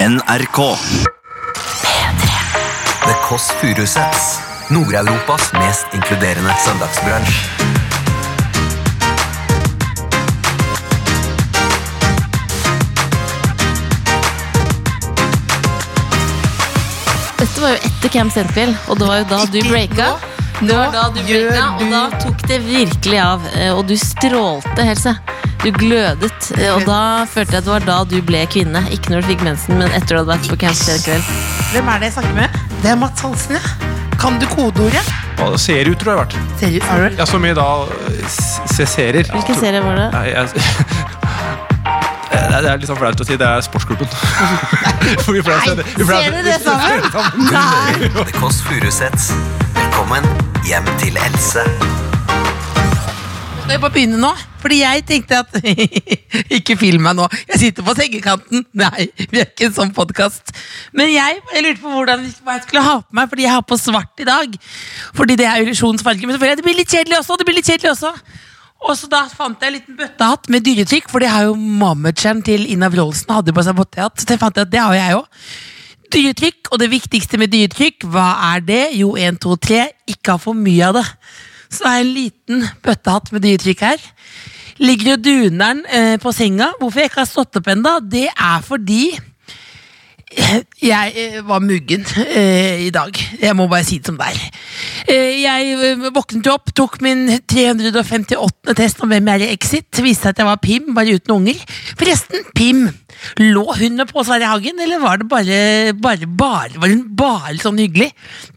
NRK. The Kåss Furuseths. Nord-Europas mest inkluderende søndagsbransj. Dette var jo etter Camp Central, og det var jo da du breaka. Det var da du breaka, og da tok det virkelig av. eh, Og du strålte, Helse. Du glødet, eh, og da følte jeg at det var da du ble kvinne. Ikke når du fikk mensen, men etter du hadde vært på Camp Central. Hvem er det jeg snakker med? Det er Mats Hansen, ja. Kan du kodeordet? Ja, Serier tror jeg har vært. Seriøst, har du det? Ja, som i da eh, s- se serier. Hvilken serie var det? Nei, jeg... Det er litt sånn flaut å si. Det er sportsklubben. For vi pleier å se det- vi pleier å Ser se- dere det sammen? Nei! The Kåss Furuseths. Velkommen hjem til Else. Skal jeg bare begynne nå? Fordi jeg tenkte at Ikke film meg nå. Jeg sitter på sengekanten. Nei, vi er ikke en sånn podkast. Men jeg, jeg lurte på hvordan hva jeg skulle ha på meg, fordi jeg har på svart i dag. Fordi det er illusjonens farge. Men selvfølgelig, det blir litt kjedelig også. det blir litt kjedelig også. Og så da fant jeg en liten bøttehatt med dyretrykk, for det har jo mammutjern til Ina Wroldsen hadde på seg bøttehatt. Så det fant jeg at det har jo jeg òg. Dyretrykk, og det viktigste med dyretrykk, hva er det? Jo, 1, 2, 3, ikke ha for mye av det. Så det er en liten bøttehatt med dyretrykk her. Ligger jo duneren eh, på senga. Hvorfor jeg ikke har stått opp ennå, det er fordi jeg eh, var muggen eh, i dag. Jeg må bare si det som det er. Eh, jeg eh, våknet jo opp, tok min 358. test om hvem jeg er i Exit. Viste seg at jeg var Pim, bare uten unger. Forresten, Pim. Lå hun med på Sverre Hagen, eller var det bare, bare, bare Var hun bare sånn hyggelig?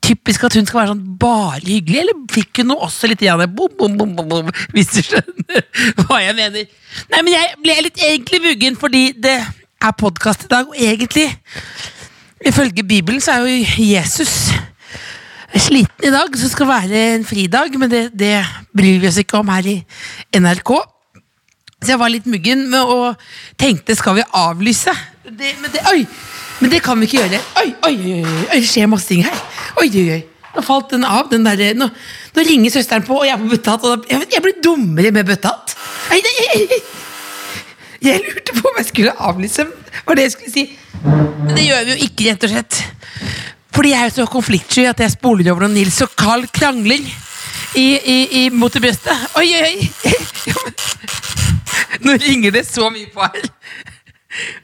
Typisk at hun skal være sånn bare hyggelig, eller fikk hun noe også litt grann bom, bom, bom, bom, bom, Hvis du skjønner hva jeg mener. Nei, men jeg ble litt egentlig muggen fordi det er podkast i dag, og egentlig Ifølge Bibelen så er jo Jesus sliten i dag, så skal det være en fridag, men det, det bryr vi oss ikke om her i NRK. Så jeg var litt muggen med og tenkte skal vi avlyse? Det, men, det, oi, men det kan vi ikke gjøre. Oi, oi, oi, oi, oi, det skjer masse ting her. Oi, oi, oi. Nå falt den av. Den der, nå, nå ringer søsteren på, og jeg er på bøttehatt. og da- Jeg, jeg blir dummere med bøttehatt. Nei, nei, nei, nei. Jeg lurte på om jeg skulle avlyse. Var det jeg skulle si. Men det gjør vi jo ikke, rett og slett. Fordi jeg er jo så konfliktsky at jeg spoler over når Nils og Carl krangler i, i, i mot det brøstet. Oi, oi, oi! Nå ringer det så mye på her.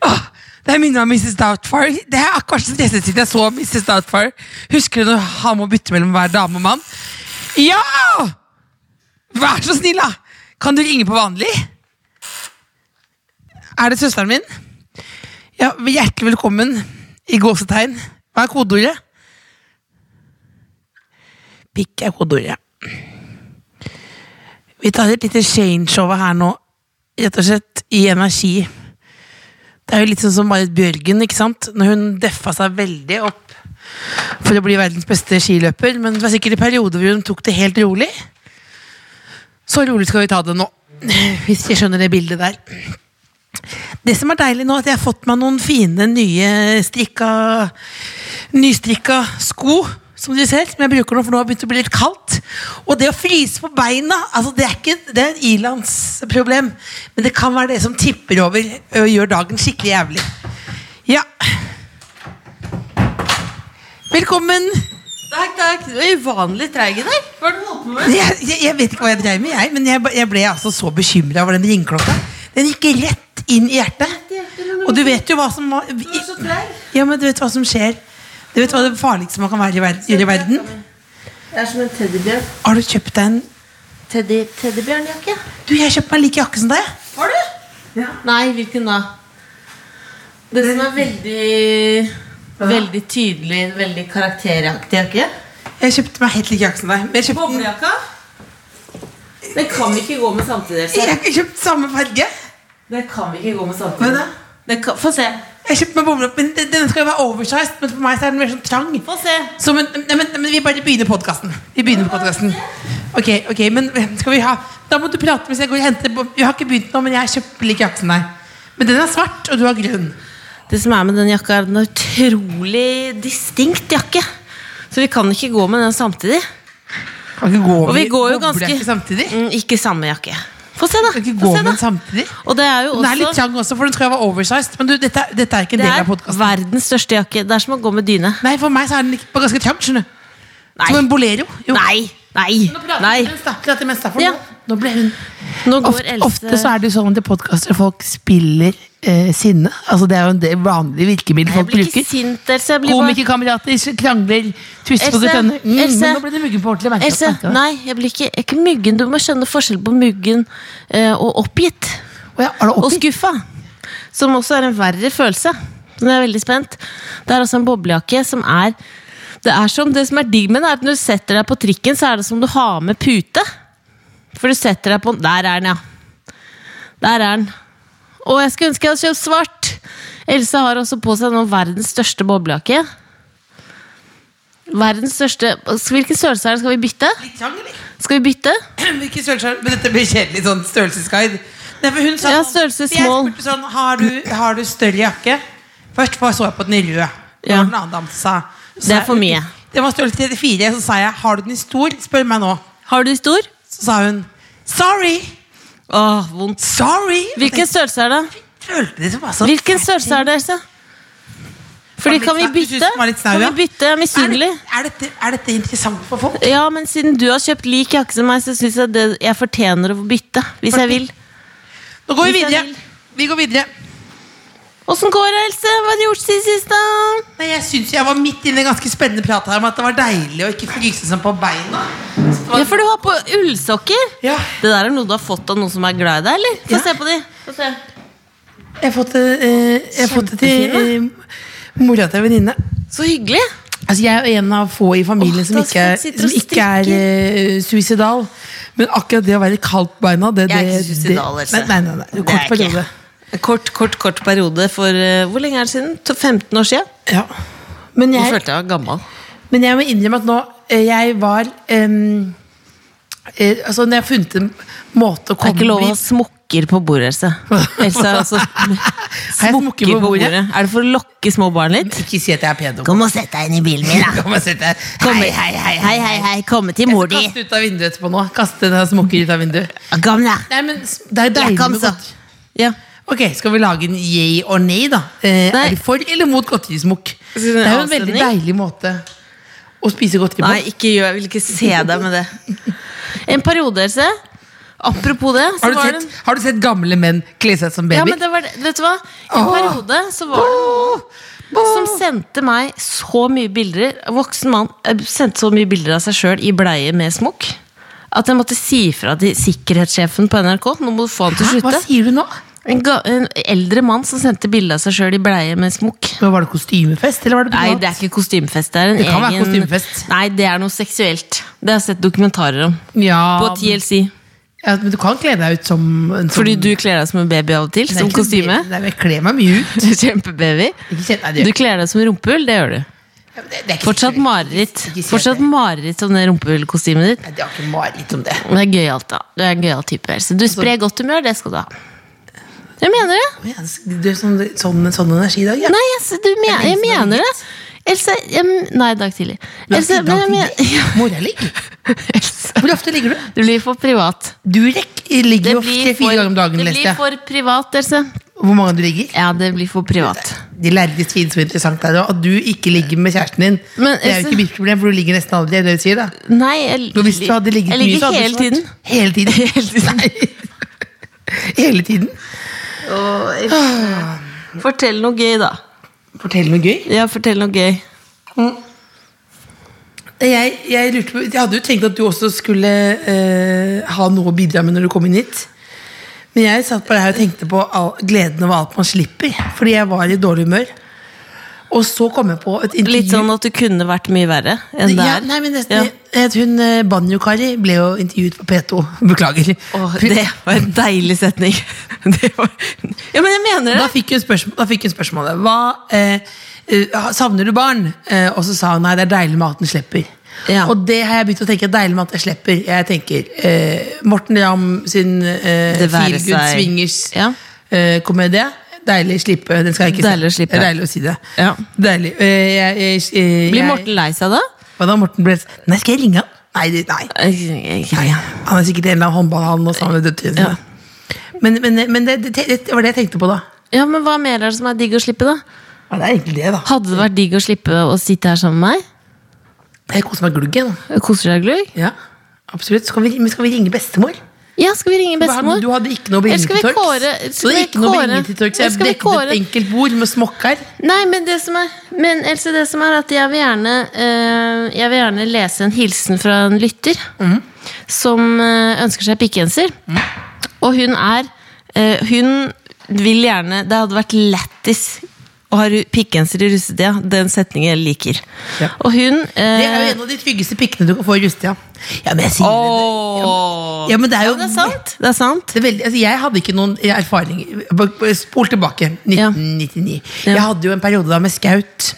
Åh, det er minnet om Mrs. Doubtfire. Det er akkurat så stresset siden jeg så Mrs. Doubtfire. Husker du når han må bytte mellom hver dame og mann? Ja! Vær så snill, da! Kan du ringe på vanlig? Er det søsteren min? Ja, Hjertelig velkommen i gåsetegn. Hva er kodeordet? Pikk er kodeordet. Vi tar et lite changeover her nå, rett og slett, i energi. Det er jo litt sånn som Marit Bjørgen, ikke sant? Når hun deffa seg veldig opp for å bli verdens beste skiløper, men det var sikkert i perioder hvor hun tok det helt rolig. Så rolig skal vi ta det nå, hvis jeg skjønner det bildet der. Det som er deilig nå, er at jeg har fått meg noen fine nye strikka, nystrikka sko. Som dere ser, som jeg bruker nå, for nå har det begynt å bli litt kaldt. Og det å fryse på beina, altså det er ikke det er et ilandsproblem. Men det kan være det som tipper over og gjør dagen skikkelig jævlig. Ja. Velkommen. Takk, takk. Du er uvanlig treig i dag. Hva har du holdt på med? Jeg, jeg, jeg vet ikke hva jeg dreiv med, jeg, men jeg, ba- jeg ble altså så bekymra over den ringeklokka. Den gikk rett inn i hjertet. Og du vet jo hva som var Ja, men du vet hva som skjer. Du vet hva det farligste man kan være i verden, gjøre i verden? Jeg er som en teddybjørn. Har du kjøpt deg en Teddy, teddybjørnjakke. Du, jeg kjøpte meg like jakke som deg. Har du? Nei, hvilken da? Det som er veldig Veldig tydelig, veldig karakteraktig jakke. Jeg kjøpte meg helt like jakke som deg. Men jeg kjøpte, den- Boblejakka? Den kan vi ikke gå med samtidig. jeg Else. har ikke kjøpt samme farge. Den kan vi ikke gå med Men samtidig. da? Den kan, få se. Jeg kjøpte meg boble, men den- Denne skal jo være oversized, men for meg så er den mer sånn trang. Få se. Så, men, nei, men, men vi bare begynner podkasten. Vi begynner podcasten. Ok, ok, men skal vi ha Da må du prate mens jeg går og henter Vi har ikke begynt nå, men jeg kjøper like jaksen der. Men den er svart, og du har grønn. Det som er med den jakka, er den er utrolig distinkt jakke. Så vi kan ikke gå med den samtidig. Kan ikke gå Og vi i går jo boblejakke ganske samtidig. Mm, Ikke samme jakke. Få se, da. Skal ikke Få gå se, med da. den samtidig. Og det er jo Den er litt også trang også, for den tror jeg var oversized. Men du, dette, er- dette er ikke en det del av er podkasten. verdens største jakke. Det er som å gå med dyne. Nei, for meg så er den ikke- ganske trang, skjønner du. Nei. Som en bolero. Jo. Nei! Nei! Nå prater Nei. vi mens, da. Prater vi mens, da, for Ja. nå- Nå ble hun Nå går Ofte, Else ofte så er det jo sånn at i podkaster folk spiller eh, sinne. Altså Det er jo en del vanlige Jeg virkemidler folk blir ikke bruker. sint, Else. Jeg blir bare Komikerkamerater krangler, twister på Else, tønner. Mm, men Else, nå ble det muggen på ordentlig. merker jeg. Else, Merker jeg. nei, jeg blir ikke, jeg er ikke muggen. Du må skjønne forskjell på muggen eh, og oppgitt. Å ja, er det Og oppi? skuffa. Som også er en verre følelse. Så nå er jeg veldig spent. Det er altså en boblejakke som er Det er som det som er digg med den, er at når du setter deg på trikken, så er det som du har med pute. For du setter deg på Der er den, ja. Der er den. Og jeg skulle ønske jeg hadde kjøpt svart. Else har også på seg nå verdens største boblejakke. Verdens største Hvilken størrelse er det? Skal vi bytte? Skal vi bytte? Hvilken størrelse er- Men dette blir kjedelig sånn størrelsesguide. Nei, for hun sa Ja, sånn- størrelse for jeg small. spurte sånn har du, har du større jakke? Først bare så jeg på den i rød. Det Ja. var den andre damen som sa så Det er sa- for mye. Det var størrelse 34. Så sa jeg har du den i stor? Spør meg nå. Har du stor? Så sa hun sorry. Åh, vondt. Sorry. Og Hvilken jeg størrelse er det? følte det som var sånn Hvilken størrelse er det, Else? Fordi Var kan litt vi snau- du synes bytte? den var litt snau, Kan vi ja? bytte? Jeg er Er, misunnelig. det, er, dette, er dette interessant for folk? Ja, men siden du har kjøpt lik jakke som meg, så syns jeg det, jeg fortjener å få bytte. Hvis jeg vil. Nå går vi Hvis jeg videre. vil. Vi går videre. Åssen går det, Else? Hva har du gjort siden sist, da? Nei, jeg synes jeg var midt inne i en ganske spennende prat her om at det var deilig å ikke fryse seg på beina. Så det var- Ja, for du har på ullsokker. Ja. Det der er noe du har fått av noen som er glad i deg, eller? Få Ja. se på de. Få se. Jeg har fått det, eh, jeg har fått det til eh, mora til en venninne. Så hyggelig. Altså, jeg er en av få i familien Åh, som da ikke, er- folk sitter som og ikke er eh, suicidal. Men akkurat det å være kaldt på beina det, Jeg er det- ikke suicidal, det- Else. Nei, nei, nei, nei. Det er Kort jeg ikke. periode. En kort, kort, kort periode for eh, Hvor lenge er det siden? To- 15 år siden? Ja. Men Nå jeg, følte jeg meg gammel. men jeg må innrømme at nå eh, Jeg var em, eh, Altså, når jeg har funnet en måte å Det er komme ikke lov å ha dit- smokker på bordet, Else. Else har også jeg smokker smokker på på bordet? bordet. Er det for å lokke små barn litt? Ikke si at jeg er pedo. Kom og sett deg inn i bilen min, da. Kom og sett deg. Kom. Hei, hei, hei. Hei, hei, hei. Komme til mor di. Kast ut av vinduet etterpå nå. Kaste den smokken ut av vinduet. Kom, da. Nei, men s- det Ja, er deilig kom, med så. godt. Ja. Ok, Skal vi lage en yay or nay, da? Eh, Nei. er du for eller mot godterismokk? Skal vi Det er jo en veldig avstemning? deilig måte å spise godteri på. Nei, ikke gjør Jeg vil ikke se deg med det. En periode, Else. Apropos det, så har, du var det sett, har du sett gamle menn kle seg som ja, babyer? men det var det. Vet du hva? En Åh. periode så var det som sendte meg så mye bilder En Voksen mann eh, sendte så mye bilder av seg sjøl i bleie med smokk. At jeg måtte si fra til sikkerhetssjefen på NRK. Nå må du få han til å Hæ? Hva slutte. sier du nå? En, ga, en eldre mann som sendte bilde av seg sjøl i bleie med smokk. Men var det kostymefest, eller var det Nei, privat? det er ikke kostymefest. Det, er en Det kan være egen... kostymefest. Nei, Nei, det er noe seksuelt. Det har jeg sett dokumentarer om. ja, På men, TLC. ja, men du kan kle deg ut som en sånn Fordi du kler deg som en baby av og til. Nei, Som ikke kostyme. Nei, men jeg kler meg mye ut. Kjempebaby. Ikke kjent, nei, Du det, gjør jeg kler deg som rumpehull, det gjør du. ikke. det, det er ikke Fortsatt mareritt. Ikke si Fortsatt det. mareritt om det rumpehullkostymet ditt. Nei, det har ikke mareritt om det. Men Det er gøyalt, da. Du er en gøyal type. Else. Du Altså- sprer godt humør, det skal du ha. Jeg mener det. Å, ja, Du er sånn, sånn, sånn energi i dag, ja. Nei, jeg, du, men, jeg mener det. Else jeg, Nei, dag tidlig. Men Else, i dag altså, men jeg mener tidlig, Mora ligger. Else, Hvor ofte ligger du? Det blir for privat. Du rekk, ligger jo for, tre-fire ganger om dagen, det leste blir jeg. for privat, Else. Hvor mange du ligger? Ja, det blir for privat. De lærde tviler så interessant er det, at du ikke ligger med kjæresten din. Men, altså- det er jo Else- ikke mitt problem, for du ligger nesten aldri. det er Det du sier, da. Nei, jeg, For hvis du hadde ligget jeg mye, så ligger hadde du hele svart. tiden. Hele tiden. Nei. Hele tiden. Ah, Fortell noe gøy, da. Fortell noe gøy. Mm. Ja, fortell noe gøy. Jeg, jeg, lurte på, jeg hadde jo tenkt at du også skulle eh, ha noe å bidra med når du kom inn hit. Men jeg satt bare her og tenkte på all, gleden over alt man slipper. Fordi jeg var i dårlig humør. Og så kom jeg på et intervju Litt sånn at du kunne vært mye verre enn det Ja, er. nei, men det, Ja. det- Hun eh, Banjo-Kari ble jo intervjuet på P2. Beklager. Åh, Hun- det var en deilig setning. Det var... Ja, men jeg mener Da det. fikk hun, spørsmål, da fikk hun spørsmålet Hva, eh, eh, Savner du barn? Eh, og så sa hun nei, det er deilig med at den slipper. Ja. Og det har jeg begynt å tenke. Deilig med at jeg slipper. Jeg tenker eh, Morten Ramm sin eh, Det være Feel Good seg- Swingers Ja. eh, komedie. Deilig slippe. Den skal jeg ikke si. Deilig å slippe. Deilig å si det. Ja. Deilig. Eh, jeg, jeg, eh, Blir jeg- Morten lei seg da? Hva da, Morten ble Nei, skal jeg ringe han? Nei, det- nei. Ja, Han er sikkert en eller annen håndball han og sammen med døtrene sine. sånn, Men, men, men det, det, det var det jeg tenkte på da. Ja, men Hva mer er det som er digg å slippe, da? Ja, det er egentlig det, da. Hadde det vært digg å slippe å sitte her sammen med meg? Jeg koser meg glugg, jeg. nå. Koser deg, Glugg? Ja, absolutt. Skal vi, men skal vi ringe bestemor? Ja, skal vi ringe bestemor? Du hadde ikke noe Eller skal vi bringetørk. kåre- Så skal det vi er ikke noe kåre- bringetørk, så Eller jeg skal vi dekket et kåre- enkelt bord med smokker. Nei, men det som er Men Else, det som er at jeg vil gjerne eh, Jeg vil gjerne lese en hilsen fra en lytter Mhm. som eh, ønsker seg pikkegenser. Og hun er eh, Hun vil gjerne Det hadde vært lættis å ha ru- pikkegenser i russetida. Den setningen jeg liker. Ja. Og hun eh, Det er jo en av de tryggeste pikkene du kan få i rustia. Ja, men jeg sier Åh. det. Ja, men det er jo Det er sant. Det er sant. Det er veldig, altså jeg hadde ikke noen erfaring b- b- Spol tilbake, 1999 Ja. Jeg hadde jo en periode da med skaut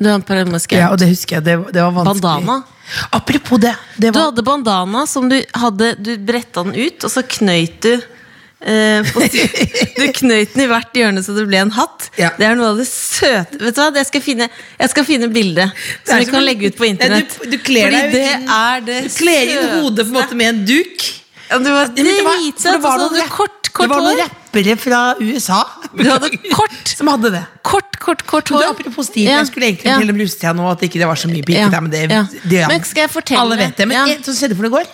Du har en paranoiask ja, Og det husker jeg, det, var- det var vanskelig Bandana. Apropos det, det Du var, hadde bandana som du hadde Du bretta den ut, og så knøyt du eh, på, Du knøyt den i hvert hjørne så det ble en hatt. Ja. Det er noe av det søte Vet du hva, det skal jeg finne, jeg skal finne bildet er som vi som kan en- legge ut på internett. Nei, du- du kler Fordi deg jo det inn- er det Du kler inn søte. hodet på en måte med en duk Ja, Du var Ja, men det var- for dritsøt, det og var så noen hadde du rapp- kort, kort Det var noen hår. rappere fra USA Du hadde kort, Som hadde det kort, kort, kort Men du, hår. apropos stil, Ja, jeg skulle egentlig ja. til om rustia nå at ikke det var så mye pikket Ja, der, men det, ja. det Men skal jeg fortelle Alle vet det, men Ja. en som skjedde for det i går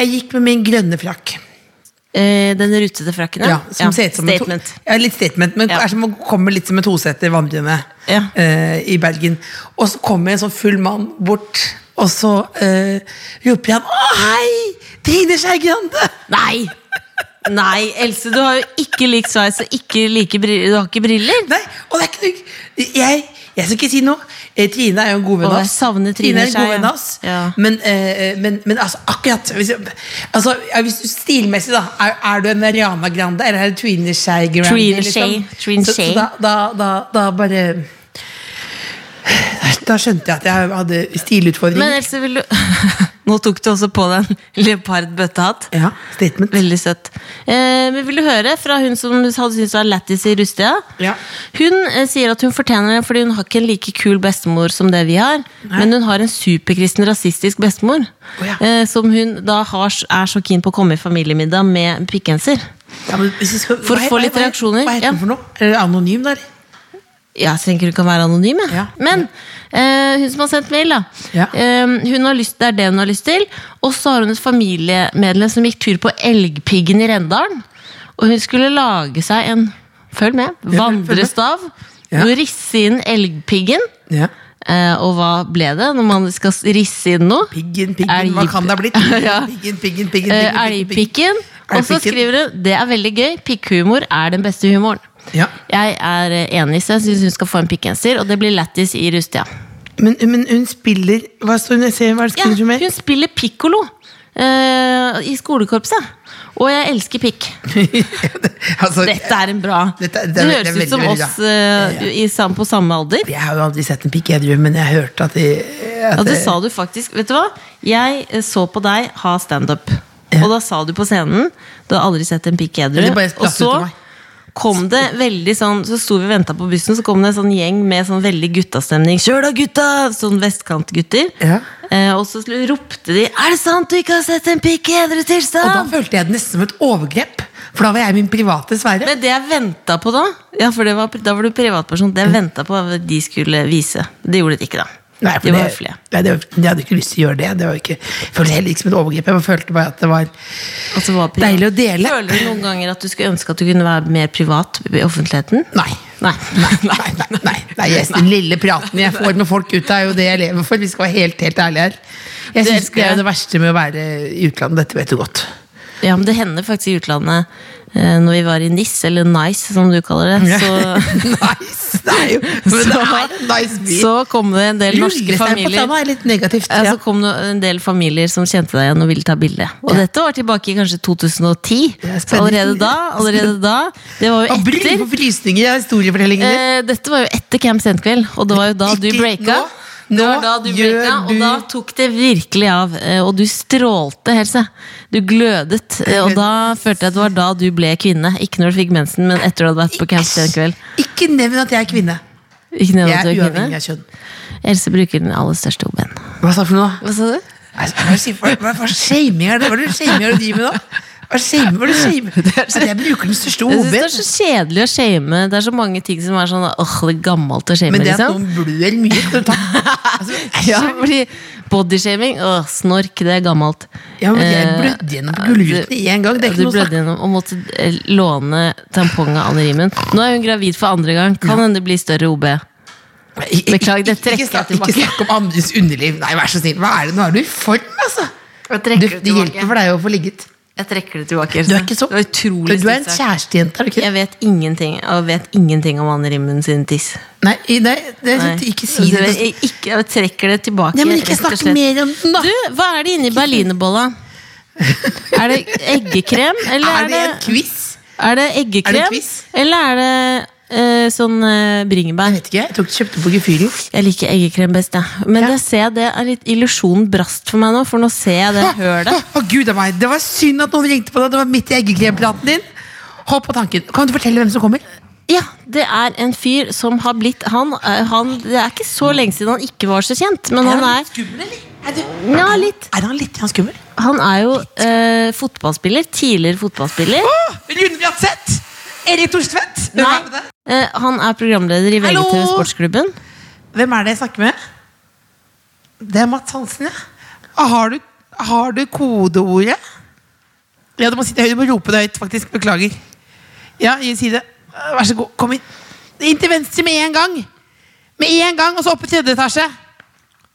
Jeg gikk med min grønne frakk Eh, Den rutete frakken, Ja, som ser ut som en to- Statement. Ja, litt statement, men Ja. er som å komme litt som en tosetter vandrende Ja. eh, i Bergen. Og så kommer en sånn full mann bort, og så eh, roper han 'Å, hei! Trine Skei Grande!' Nei! Nei, Else, du har jo ikke lik sveis og ikke like briller. Du har ikke briller. Nei, og det er ikke jeg, jeg skal ikke si noe. Eh, Trine er jo en god venn Å, av jeg oss. savner Trine er en god Skei, ja. venn av oss. Ja. Men, eh, men, men altså, akkurat hvis, jeg- altså, ja, hvis du Stilmessig, da. Er, er du en Ariana Grande eller er du Trine Skei Grande? Trine liksom? Skei, Trine Så, så Skei. da, da, da, da bare Da skjønte jeg at jeg hadde Men stilutfordringer. Else, vil du Nå tok du også på deg en leopardbøttehatt. Ja, statement. Veldig søtt. Eh, men vil du høre fra hun som hadde syntes det var lættis i Rustia? Ja. Hun eh, sier at hun fortjener det fordi hun har ikke en like kul bestemor som det vi har. Men hun har en superkristen, rasistisk bestemor. Å, ja. eh, som hun da har, er så keen på å komme i familiemiddag med pikkgenser. Ja, men hvis vi skal- For å hva- få litt hva- hva- reaksjoner, Hva heter ja. den for noe? Er det anonym der? Jeg tenker du kan være anonym, jeg. Ja. Men eh, hun som har sendt mail, da. Ja. Eh, hun har lyst, det er det hun har lyst til. Og så har hun et familiemedlem som gikk tur på Elgpiggen i Rendalen. Og hun skulle lage seg en følg med, vandrestav. Ja. Og risse inn elgpiggen. Ja. Eh, og hva ble det når man skal risse inn noe? Piggen, piggen, hva Elg- kan det ha blitt? Ja. Piggen, piggen, piggen, piggen, Eh, piggen, Elgpikken. piggen. Og så Elgpikken. skriver hun det er veldig gøy. Pikkhumor er den beste humoren. Ja. Jeg er eh, enig, så jeg syns hun skal få en pikkgenser. Og det blir lættis i rustia. Men, men hun spiller Hva står hun se, hva er det Ja, skriver hun mer? hun spiller pikkolo eh, i skolekorpset. Og jeg elsker pikk. altså, Dette er en bra Dette er- det er- Det det er høres veldig, ut som veldig oss bra. eh, Ja, ja. i sam- på samme alder. Jeg har jo aldri sett en pikk, jeg driver, men jeg hørte at de at Ja, det det- sa du faktisk. Vet du hva? Jeg eh, så på deg ha standup. Ja. Og da sa du på scenen Du har aldri sett en pikk edru. Det bare Og spratt så ut av meg. kom det veldig sånn Så sto vi og venta på bussen, så kom det en sånn gjeng med sånn veldig guttastemning. Kjør da, gutta! Sånn vestkantgutter. Ja. Eh, og så sl- ropte de Er det sant du ikke har sett en pikk i edru Og da tilstand? følte jeg det nesten som et overgrep, for da var jeg min private sfære. Men det jeg venta på da Ja, for det var, da var du privatperson. Det jeg venta på at de skulle vise. Det gjorde de ikke, da. Mm. Nei, for de var det- høflige. Nei, det, var- jeg hadde ikke lyst til å gjøre det. det var ikke, jeg følte heller ikke som et overgrep. Jeg bare følte bare at det var Og så var privat. deilig å dele. Føler du noen ganger at du skulle ønske at du kunne være mer privat i offentligheten? Nei. Nei. Nei, nei, nei, nei jeg, Den lille praten jeg får med folk ute, er jo det jeg lever for. Vi skal være helt helt ærlige her. Jeg Det synes elsker Det er jeg. jo det verste med å være i utlandet. Dette vet du godt. Ja, men det hender faktisk i utlandet, eh, når vi var i NIS, eller Nice som du kaller det, så, nice! Det er jo men det er en nice by. så kom det en del norske Rullestein på familier tanna er litt negativt. ja, Ja. så kom det en del familier som kjente deg igjen og ville ta bilde. Og dette var tilbake i kanskje 2010. Det er Så spennende. allerede da, allerede da Det var jo Og bryn etter for frysninger i historiefortellingen din. Eh, dette var jo etter Camp Sent-kveld, og det var jo da du Ikke- breaka. nå- Det nå var da du gjør breaka, du- og da tok det virkelig av. eh, Og du strålte, Helse. Du glødet. eh, Og da følte jeg at det var da du ble kvinne. Ikke når du fikk mensen, men etter du hadde vært på Camp Sent-kveld. Ikke nevn at jeg er kvinne. Ikke nevn Jeg at er du er uavhengig kvinne. av kjønn. Else bruker den aller største OB-en. Hva sa du for noe? Hva sa du? Nei, Hva er det- hva er det for shaming er det? Hva er det shaming er det du driver med nå? Hva shame, var det shame? Det er At så- jeg bruker den største Jeg synes det er hoven. så kjedelig å shame. Det er så mange ting som er sånn åh, det er gammelt å shame. Men det at Liksom. noen blør mye skal du ta. altså, æsj. Ja, fordi Bodyshaming, åh, snork, det er gammelt. ja, men Jeg Eh, blødde gjennom gullruten én gang. Det du er ikke noe blødde snakk. gjennom og måtte eh, låne tampongen av Anne Rimen. Nå er hun gravid for andre gang. Kan hende det blir større OB. Beklager, det trekker jeg Ikke snakk- tilbake. Ikke snakk om andres underliv. Nei, vær så snill. Hva er det? Nå er du i form, altså. Jeg Du, trekker det hjelper for deg å få ligget. Jeg trekker det tilbake. Du er ikke så Det var utrolig Du er en stygt sagt. kjærestejente, er du ikke? Jeg vet ingenting, og vet ingenting om Anne Rimmen sin tiss. Nei, nei det, er Nei. Altså, sånn, ikke si det. Jeg, ikke, jeg trekker det tilbake. Nei, men ikke rett og snakk slett. mer om den, da. Du, hva er det inni berlinerbolla? Er det eggekrem, eller Er det er en det, quiz? er det eggekrem? Er det quiz? Eller er det eh, sånn eh, bringebær? Jeg vet ikke. Jeg tok kjøpte på Gefühlen. Jeg liker eggekrem best, jeg. Men Ja. det ser jeg, det er litt illusjonen brast for meg nå, for nå ser jeg det hølet. Å, gud av meg. Det var synd at noen ringte på deg. Det var midt i eggekremplaten din. Hopp på tanken. Kan du fortelle hvem som kommer? Ja, det er en fyr som har blitt han, eh, han Det er ikke så lenge siden han ikke var så kjent, men han han er litt skummel, eller? Er, du, Ja, litt. er han litt grann skummel? Han er jo eh, fotballspiller. Tidligere fotballspiller. Åh, Rune Bratseth! Erik Thorstvedt! Hvem, er Nei, det? eh, han er programleder i Hallo! VGTV Sportsklubben. hvem er det jeg snakker med? Det er Mats Hansen, ja. Ah, Har du, har du kodeordet? Ja, du må, sitte høyt, du må rope det høyt, faktisk. Beklager. Ja, gi- si det. Vær så god. Kom inn. Inn til venstre med en gang. Med en gang, og så opp i tredje etasje.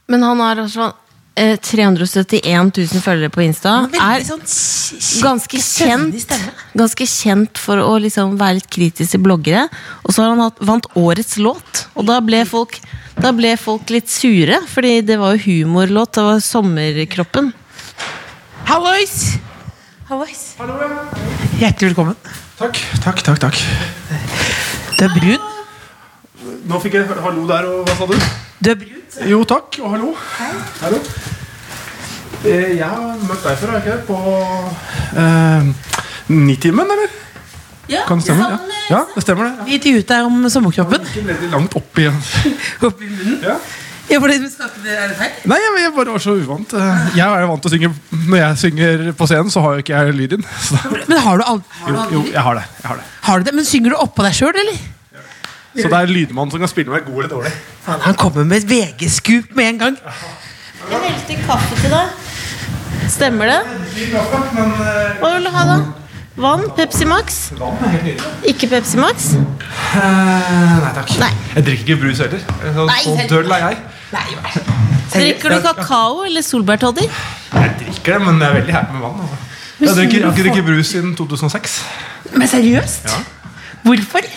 Men han har altså eh, 371 000 følgere på Insta. Er sånn ganske kjent, ganske kjent for å liksom være litt kritisk til bloggere. Og så har han hatt, vant årets låt, og da ble, folk, da ble folk litt sure. Fordi det var jo humorlåt. Det var Sommerkroppen. Hallois! Hjertelig velkommen. Takk, takk, takk, takk. Du er brun. Nå fikk jeg hallo der, og hva sa du? Du er brun. Jo, takk, og hallo. Hallo. Eh, Jeg har møtt deg før, har jeg ikke det? På eh, Nitimen, eller? Ja, Kan det sånn, eh, stemme? Ja, ja det stemmer det. Vi intervjuet deg om sommerkroppen. Ikke veldig langt opp igjen. Oppi munnen. Ja. Ja, for det skapte det, er det feil? Nei, jeg, jeg bare var så uvant. Eh, Jeg er jo vant til å synge Når jeg synger på scenen, så har jo ikke jeg lyd inn. Så da, Men har du, al- har, du jo, aldri, jo, jeg har det. jeg har det har du det? Men synger du oppå deg sjøl, eller? Så det er lydmannen som kan spille meg god eller dårlig. Faen, han kommer med et VG-skup med en gang. Jeg helte kaffe til deg. Stemmer det? Men Hva vil du ha da? Vann? Pepsi Max? vann er helt nydelig. Ikke Pepsi Max? Eh, Nei takk. Nei. Jeg sånn drikker ikke brus heller. Så, Nei, så heller. døll er jeg. Drikker du kakao eller solbærtoddy? Jeg drikker det, men jeg er veldig happy med vann. Altså. Jeg drikker, jeg har ikke drukket brus siden 2006. Men seriøst? Hvorfor?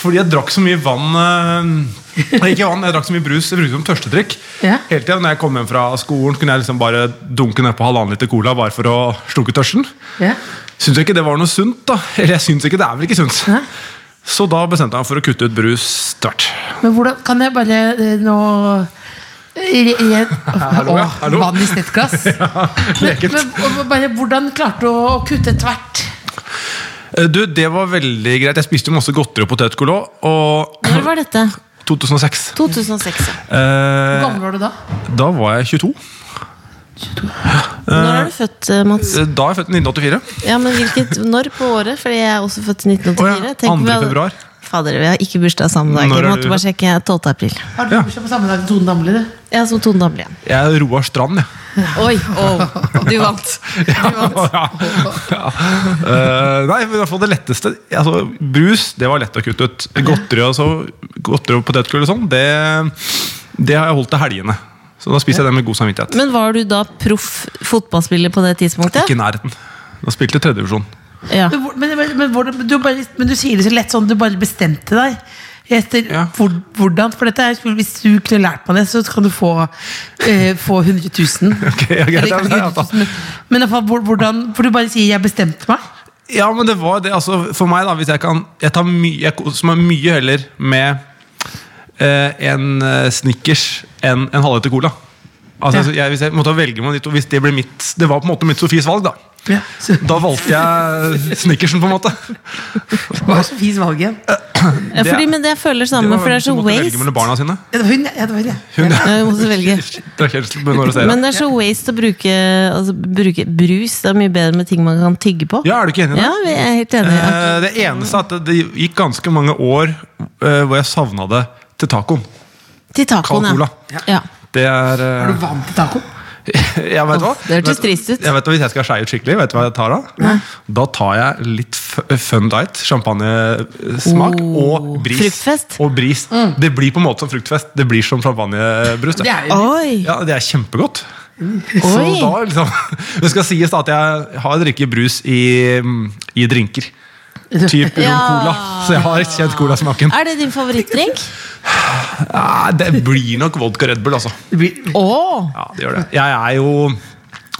Fordi jeg drakk så mye vann eh, Nei, ikke vann, jeg drakk så mye brus. Jeg brukte det som tørstedrikk. Ja. Hele tiden når jeg kom hjem fra skolen, kunne jeg liksom bare dunke nedpå halvannen liter cola bare for å slukke tørsten. Ja. Syns jeg ikke det var noe sunt, da. Eller jeg syns ikke det er vel ikke sunt. Nei. Så da bestemte jeg meg for å kutte ut brus tvert. Men hvordan kan jeg bare eh, nå Re- re- hallo, ja, Åh, hallo. Vann i stettglass. Lekkert. Men og bare, hvordan klarte du å kutte tvert? Eh, Du, det var veldig greit. Jeg spiste jo masse godteri og potetgull òg. Og Når var dette? 2006. 2006. ja. Eh, Hvor gammel var du da? da var jeg 22. Når er du født, eh, Mats? Eh, Da er jeg født i 1984. Ja, men hvilket, Når på året? Fordi jeg er også født i 1984. Å ja, Tenk om vi hadde- 2. februar. Fader, vi har ikke bursdag samme dag. Når Jeg er måtte du- bare sjekke 12. april. Har du Ja. bursdag på samme dag som Tone Damli? du? Jeg er som Tone Damli igjen. Jeg er Roar Strand, jeg. Oi, oh, du vant. ja. ja. Eh, nei, men i hvert fall det letteste altså, Brus, det var lett å kutte ut. Godteri og, så, godteri og potetgull og sånn, det, det har jeg holdt til helgene. Så da spiser jeg det med god samvittighet. Men var du da proff fotballspiller på det tidspunktet? Ikke i nærheten. Da spilte jeg tredjevisjon. Ja. Men, hvor- men, men, men, hvordan- du bare, men du sier det så lett sånn, du bare bestemte deg. Etter Ja. hvor, hvordan, for dette er, skulle- Hvis du kunne lært meg det, så kan du få, eh, få 100 000. Ok, ja, greit, Eller ja, kanskje ja, 100 000, men- Men i hvert fall, hvor- hvordan, for du bare sier 'jeg bestemte meg'. Ja, men det var det. Altså, for meg, da, hvis jeg kan Jeg tar my, jeg koser meg mye heller med eh, en eh, Snickers enn en halvliter cola. Altså, Ja. jeg, hvis jeg måtte velge mellom de to, hvis det ble mitt Det var på en måte mitt Sofies valg, da. Ja, så, Da valgte jeg snickersen, på en måte. det var så fint valg igjen. Ja, Ja, fordi, men det jeg føler samme, for det er så som liksom måtte velge waste. mellom barna sine. det var hun, ja. Det var hun, ja. Hun Ja, vi måtte velge. drakk helst med når og ser. Men det er så waste å bruke, altså, bruke brus. Det er mye bedre med ting man kan tygge på. Ja, er du ikke enig i det? Ja, vi er helt enige. Eh, Det eneste er at det- det gikk ganske mange år eh, hvor jeg savna det til tacoen. Til tacoen, Cola. ja. ja. Det er eh, Er du vant til taco? jeg vet hva. Åh, det hørtes Vet- trist ut. Jeg vet, hva, hvis jeg skal skeie ut skikkelig, vet du hva jeg tar da? Da tar jeg litt f- eh, fun diet, champagnesmak Oh, og bris. fruktfest. Mm. Og bris. Det blir på en måte som fruktfest. Det blir som champagnebrus. Det er jo Oi! Ja, det er kjempegodt. Så Oi. da liksom Det skal sies da at jeg har drikket brus i, mm, i drinker. Typ rom cola. Så jeg har kjent colasmaken. Er det din favorittdrink? Ja, det blir nok vodka Red Bull, altså. det blir, Å! Ja, det gjør det. Jeg er jo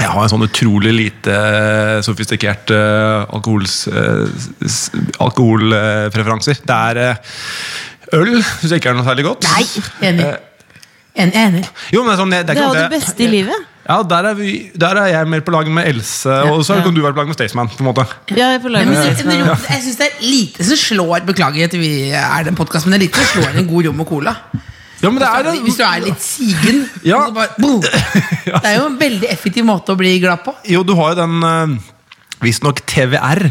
jeg har en sånn utrolig lite sofistikert eh, alkohols, eh, s- alkoholpreferanser. Det er eh, øl, syns jeg ikke er noe særlig godt. Nei, enig. Eh. En, enig. Jo, men det er sånn, det, det Det er er ikke jo noe- det beste i livet. Ja, der er, vi, der er jeg mer på lag med Else, og så ja. kan du være på lag med Staysman. på en måte. Ja, jeg får lov Men til å jeg si sånn, det. jeg syns det er lite som slår Beklager at vi er den podkasten, men det er lite som slår en god rom og cola. Ja, men det er Hvis du det. er litt sigen. Ja. Så bare, boom. Det er jo en veldig effektiv måte å bli glad på. Jo, du har jo den eh, visstnok TVR.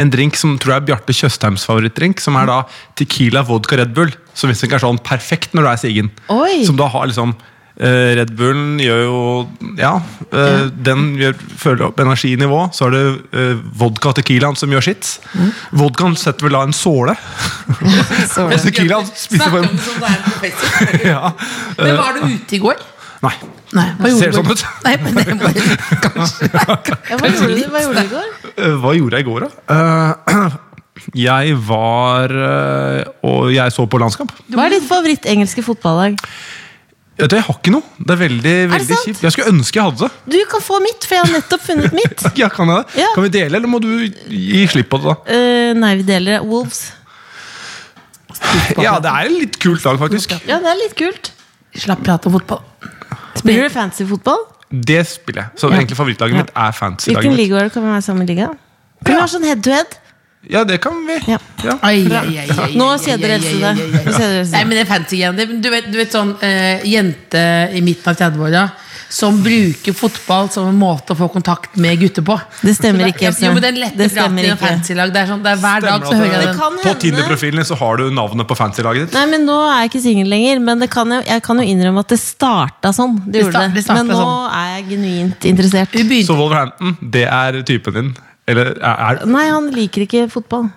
En drink som tror jeg er Bjarte Tjøstheims favorittdrink. Som er da Tequila vodka Red Bull. Som visstnok er sånn perfekt når du er sigen. Oi. Som da har liksom eh, Red Bullen gjør jo Ja. eh, Den gjør, føler opp energinivå. Så har du eh, vodka og tequilaen som gjør sitt. Vodkaen setter vel da en såle. Og tequilaen spiser Snakker om form. sånn det som det er en professor. Ja. Men var du ute i går? Nei. Nei, hva Ser gjorde det sånn du? ut? Nei, men det er bare, kanskje. Ja, Hva gjorde du- hva gjorde du i går? Eh, Hva gjorde jeg i går, da? Eh, jeg var eh, Og jeg så på landskamp. Hva er ditt favorittengelske fotballag? Vet du, Jeg har ikke noe. Det er veldig, veldig sant? kjipt. Jeg skulle ønske jeg hadde det. Du kan få mitt, for jeg har nettopp funnet mitt. Ja, kan, jeg det? Ja. kan vi dele, eller må du gi slipp på det? da? Eh, nei, vi deler det. Wolves. Ja, Det er en litt kult lag, faktisk. Ja, det er litt kult. Slapp prat om fotball. Spiller du fancy fotball? Det spiller jeg. Så Ja. egentlig favorittlaget Ja. mitt er fantasy-laget Hvilken mitt. liga er det? Kan vi være samme liga? Kan vi Ja. være sånn head to head? Ja, det kan vi. Ja. Ja. Ai, ai, ai, ai, Nå ai, kjeder ai, Else ai, deg. ai, ai, ai. Nå kjeder Else Nei, deg. men det er fancy igjen. Det, du, vet, du vet sånn eh, jente i midten av 30-åra som bruker fotball som en måte å få kontakt med gutter på. Det stemmer ikke, Else. Jo, men den lette Det stemmer praten i en ikke. fancy-lag. Det er sånn, det er hver dag så hører Stemmer at jeg det- den. kan På hende- Tinder-profilen så har du navnet på fantasy-laget ditt. Nei, men Nå er jeg ikke singel lenger, men det kan jeg, jeg kan jo innrømme at det starta sånn. Det Det gjorde sta- det sånn. det starta Men nå er jeg genuint interessert. Vi begynte Så Wolverhampton, det er typen din? Eller er, er Nei, han liker ikke fotball.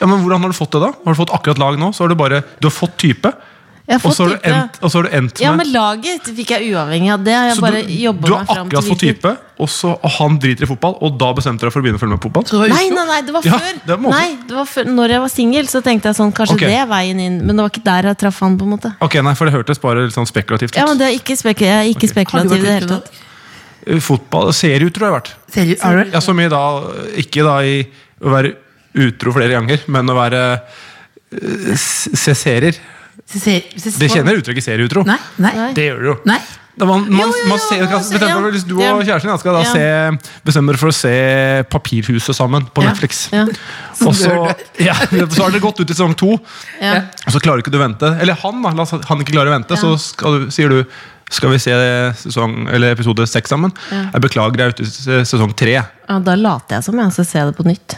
Ja, men Hvordan har du fått det, da? Har du fått akkurat lag nå? Så har du bare, du har fått Jeg type, har og fått så har du type. endt, og så har du endt Ja, med men laget fikk jeg uavhengig av. Det har jeg Så bare du, jobbet du har meg fram akkurat fått hvilken- type, og, så, og han driter i fotball, og da bestemte deg for å begynne å følge med på fotball? så- Nei, nei, nei, det var Ja, før. det må også- nei, det var før. Når jeg var singel, så tenkte jeg sånn, kanskje Ok. det er veien inn. Men det var ikke der jeg traff han, på en måte. Ok, nei, for Det hørtes bare litt sånn spekulativt ut. Ja, men det er ikke, spek jeg er ikke Har du spekulativ i vært det hele ute i tatt. dag? Eh, Fotball, Serieutro har jeg vært. Ser du- Har du Ja, så mye da, Ikke da i å være utro flere ganger, men å være eh, s- se serier. ser- ser- Det kjenner uttrykket serieutro. Nei, nei. Nei. Det gjør du jo. nei. Da Man, Jo, man, jo, jo, man ser, ja, kan, så- bestemmer, ja. for Hvis du og Ja. kjæresten din skal da Ja. se, bestemmer dere for å se Papirhuset sammen på Ja. Netflix. Ja. Og så, ja, så har dere gått ut i sesong to, og Ja. så klarer ikke du å vente. Eller han, da. La oss si at han ikke klarer å vente, så skal du, sier du skal vi se sesong, eller episode seks sammen? Ja. Jeg beklager, jeg er ute i se- sesong tre. ja, Da later jeg som jeg, så ser jeg det på nytt.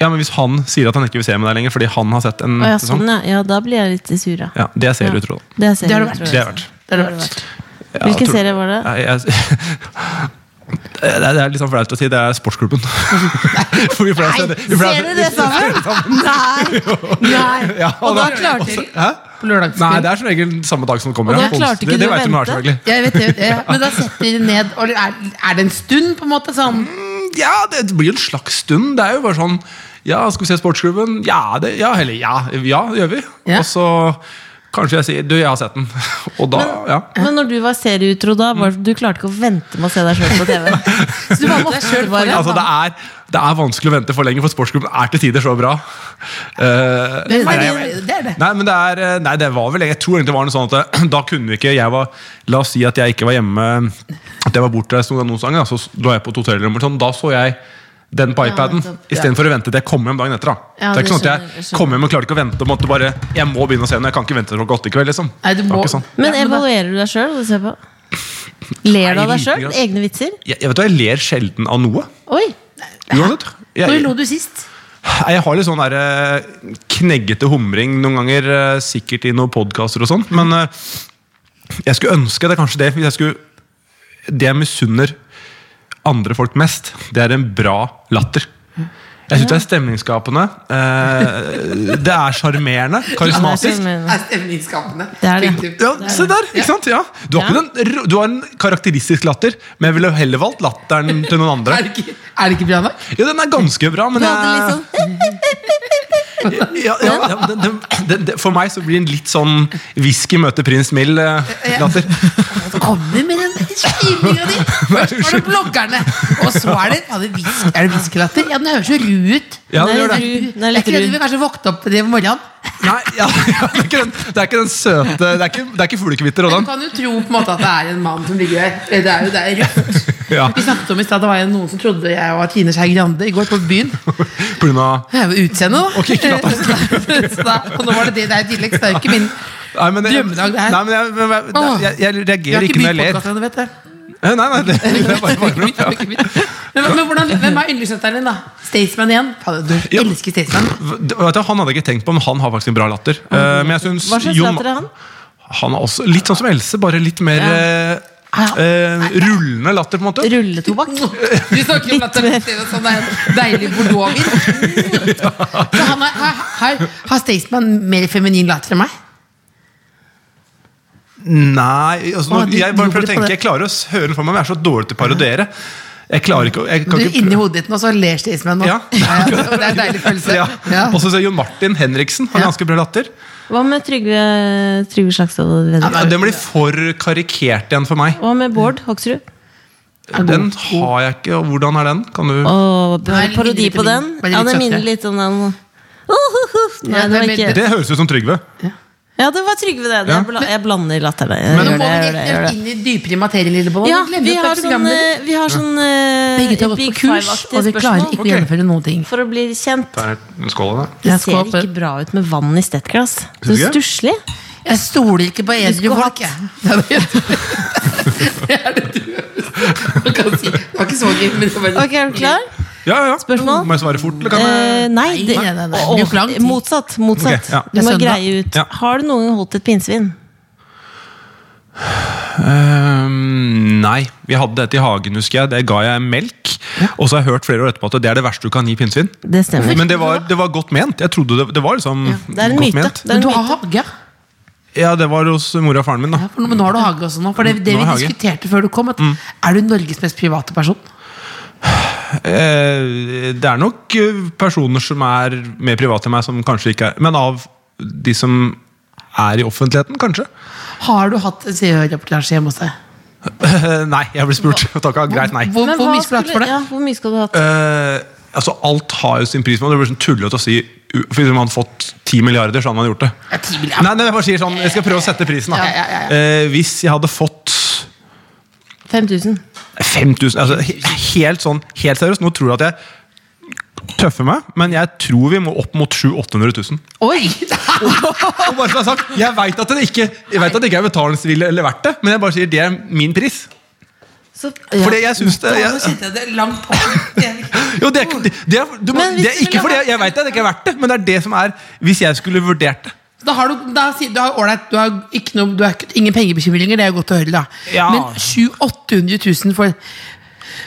Ja, men Hvis han sier at han ikke vil se med deg lenger fordi han har sett en Å, ja, sesong sånn, ja. ja, da blir jeg litt sur, ja. Mm, ja, Det er serieutro. da. Det, ser Det har jeg, tror det Det jeg. er verdt. Det har det vært. Ja, Hvilken tror- serie var det? Nei, jeg, det er- det er litt sånn flaut å si. Det er Sportsklubben. For vi pleier å se det- vi pleier å Ser se- dere det sammen? Nei! Nei. Ja, Og da klarte og så- dere- Hæ? På lørdagskveld. Nei, det er som regel samme dag som det kommer. Og da ja, på klarte onsdag. ikke det, du det å vet du nå, vente? selvfølgelig. Jeg vet det, ja. Men da setter de det ned. Og er, er det en stund, på en måte? Sånn Ja, det blir jo en slags stund. Det er jo bare sånn Ja, skal vi se sportsklubben? Ja, det, ja eller ja, ja, det gjør vi. Ja. Og så Kanskje jeg sier 'du, jeg har sett den'. Og da, ja. Men når du var serieutro da, var, du klarte ikke å vente med å se deg sjøl på TV. Så du var måtte selv bare Altså, det, er, det er vanskelig å vente for lenge, for sportsklubben er til tider så bra. Eh, Men nei, det- jeg- det er det. Nei, men det er eh, Nei, det var vel Jeg tror egentlig det var noe sånn at det, da kunne vi ikke jeg var, La oss si at jeg ikke var hjemme, at jeg var bortreist noen noen ganger, da, så lå jeg på et hotellrom, eller sånn, da så jeg den på Ja, iPaden, nettopp. istedenfor å vente til jeg kom hjem dagen etter. da Ja, Det er det ikke sånn at skjønner jeg, jeg skjønner. kom hjem og klarte ikke å vente. Måtte bare, jeg må begynne å se den, og jeg kan ikke vente til klokka åtte i kveld. liksom Nei, du Det var må- ikke sånn. Men Ja, men da- evaluerer du deg sjøl? Ler du av deg sjøl? Egne vitser? jeg, jeg vet hva, jeg ler sjelden av noe. Oi! Uansett. Når Jeg, lo du sist? Nei, Jeg har litt sånn der, eh, kneggete humring noen ganger, eh, sikkert i noen podkaster og sånn. Men eh, jeg skulle ønske det er kanskje det. Hvis jeg skulle, det jeg misunner andre folk mest, det er en bra latter. Jeg syns det er stemningsskapende. eh, Det er sjarmerende. Karismatisk. Det er stemningsskapende. Det er det. Punktum. Ja, se der! ikke sant? Ja. Du, har ikke den, ro- du har en karakteristisk latter, men jeg ville heller valgt latteren til noen andre. Er det ikke, er det ikke bra nok? Jo, den er ganske bra, men hadde jeg- litt sånn ja, ja, ja, men den, den, den, den, For meg så blir den litt sånn whisky møter prins eh, Så Mill-latter. Altså, kommer vi med den der skrivinga di! Først var det bloggerne, og så er det ja, det hvisk- Er det hviskelatter? Ja, den høres så ru ut. Ja, den Nei, gjør det. ru. Den er Jeg litt tror ru. vi kanskje våkne opp det om morgenen. Nei, ja, ja, det, er ikke den, det er ikke den søte Det er ikke, det er ikke fuglekvitter og sånn. Men du den. kan jo tro på en måte at det er en mann som ligger der. Det er jo det er rødt. Ja, Vi snakket om i stad, det var jo noen som trodde jeg var Trine Skei Grande i går på byen. på grunn av Jeg var utseende, da. Ok, ikke latt Så da. Og nå var det det der i tillegg. Så det er jo ikke min. Nei, men, jeg, nei, Drømmedag, det her. men jeg, men jeg, Åh. jeg, jeg Vi har reagerer ikke ikke når jeg begynt ler. Eh, podkasten ennå, vet du. Nei, nei, nei, det, det er bare, bare Vi har ikke begynt. Men, men hvordan, hvem er yndlingsdatteren din, da? Staysman igjen? Fader, Du Ja. elsker Staysman. Det- vet du, Han hadde jeg ikke tenkt på, men han har faktisk en bra latter. Eh, men jeg synes, Hva slags Jon- latter er han? Han er også litt sånn som Else, bare litt mer eh, eh, rullende latter, på en måte. rulletobakk. Du snakker om at det er en sånn der deilig bordeauxvin. Så han er, har, har, har Staysman mer feminin latter enn meg? Nei, altså, nå, Å, du jeg bare dro prøver å litt på tenke det. Jeg klarer å s- høre den for meg, men jeg er så dårlig til å parodiere. Jeg klarer ikke å jeg Du kan er ikke inni hodet ditt nå, så ler Staysman nå. Ja. det er en deilig følelse. ja. Ja. Og så ser jeg Jon Martin Henriksen har Ja. ganske bra latter. Hva med Trygve Trygve Slagsvold Vedum? Ja, Den blir for karikert igjen for meg. Hva med Bård Hoksrud? Den har jeg ikke. og Hvordan er den? Kan du Og Nei, litt parodi lite på den? min- bare Ja, litt det minner søtere. litt om den. Uhuhu. Nei, Ja, det var det er ikke Det høres ut som Trygve. Ja, det var Trygve, det. det. Ja. Jeg bla- Jeg blander latterne. Men nå Gjør må det, vi gjør det, gjør rett det. inn i dypere materie, lillebollen. Ja, Glem vi har at det er sånn, programmet. eh, vi har sånn Begge to har gått Big på kurs, og Five-aktige de klarer ikke spørsmål. å gjennomføre noen ting. For å bli kjent. Der er skåla, da. Det Jeg ser skal opp- ikke bra ut med vann i stettglass. Så Synes du ikke? stusslig. Jeg stoler ikke på edru skulle folk, jeg. Ja, det er det- det er det du man kan si. Det var ikke så gøy, men det var Ok, er du klar? Ja, ja. Spørsmål? Må jeg svare fort, eller kan jeg Eh, nei, det, nei, nei, nei. Å, Det blir for lang tid. motsatt. motsatt. Ok, ja. Du Det må er søndag. greie ut. Ja. Har du noen gang holdt et pinnsvin? Ehm, Nei. Vi hadde dette i hagen, husker jeg. Det ga jeg melk. Og så har jeg hørt flere år etterpå at det er det verste du kan gi pinnsvin. Det stemmer. Men det var, det var godt ment. Jeg trodde det, det var liksom Det er en godt myte. ment. Det er Men en du har myte. hage? Ja, det var hos mora og faren min, da. Ja, for nå- men nå har du hage også nå. For det, det Mm, Nå vi har jeg hage. Mm. diskuterte før du kom, at er du Norges mest private person? Eh, det er nok eh, personer som er mer private enn meg, som kanskje ikke er Men av de som er i offentligheten, kanskje? Har du hatt en CØ-reportasje hjemme hos deg? Eh, nei, jeg ble spurt. Takka, greit, nei. Hvor, Men hvor hva mye skulle du hatt for skulle- det? Ja, hvor mye skulle du hatt? Eh, altså, alt har jo sin pris, men det blir sånn tullete å si u- For Hvis man hadde fått 10 milliarder, så hadde man gjort det. Ja, 10 milliarder. Nei, nei, jeg bare sier sånn, jeg skal prøve å sette prisen, da. Ja, ja, ja, ja. Eh, hvis jeg hadde fått 5000. 5000 altså, he- Helt sånn, helt seriøst, nå tror jeg at jeg tøffer meg, men jeg tror vi må opp mot 700 000-800 000. Oi! Og bare som jeg har sagt, jeg vet at det ikke Jeg vet at det ikke er betalingsvillig eller verdt det, men jeg bare sier det er min pris. Så, Fordi jeg synes det Nå jeg, kjente jeg det langt på. Det er viktig. jo, det er, ikke- det, det, er, du må, Men hvis det er du ville ikke fordi ha- jeg, jeg vet at det ikke er verdt det, men det er det som er Hvis jeg skulle vurdert det. Da har du, da, sier- du har, ålreit, du har, ikke noe, du har ikke- ingen pengebekymringer, det er jo godt å høre. da Ja. Men 700 000 for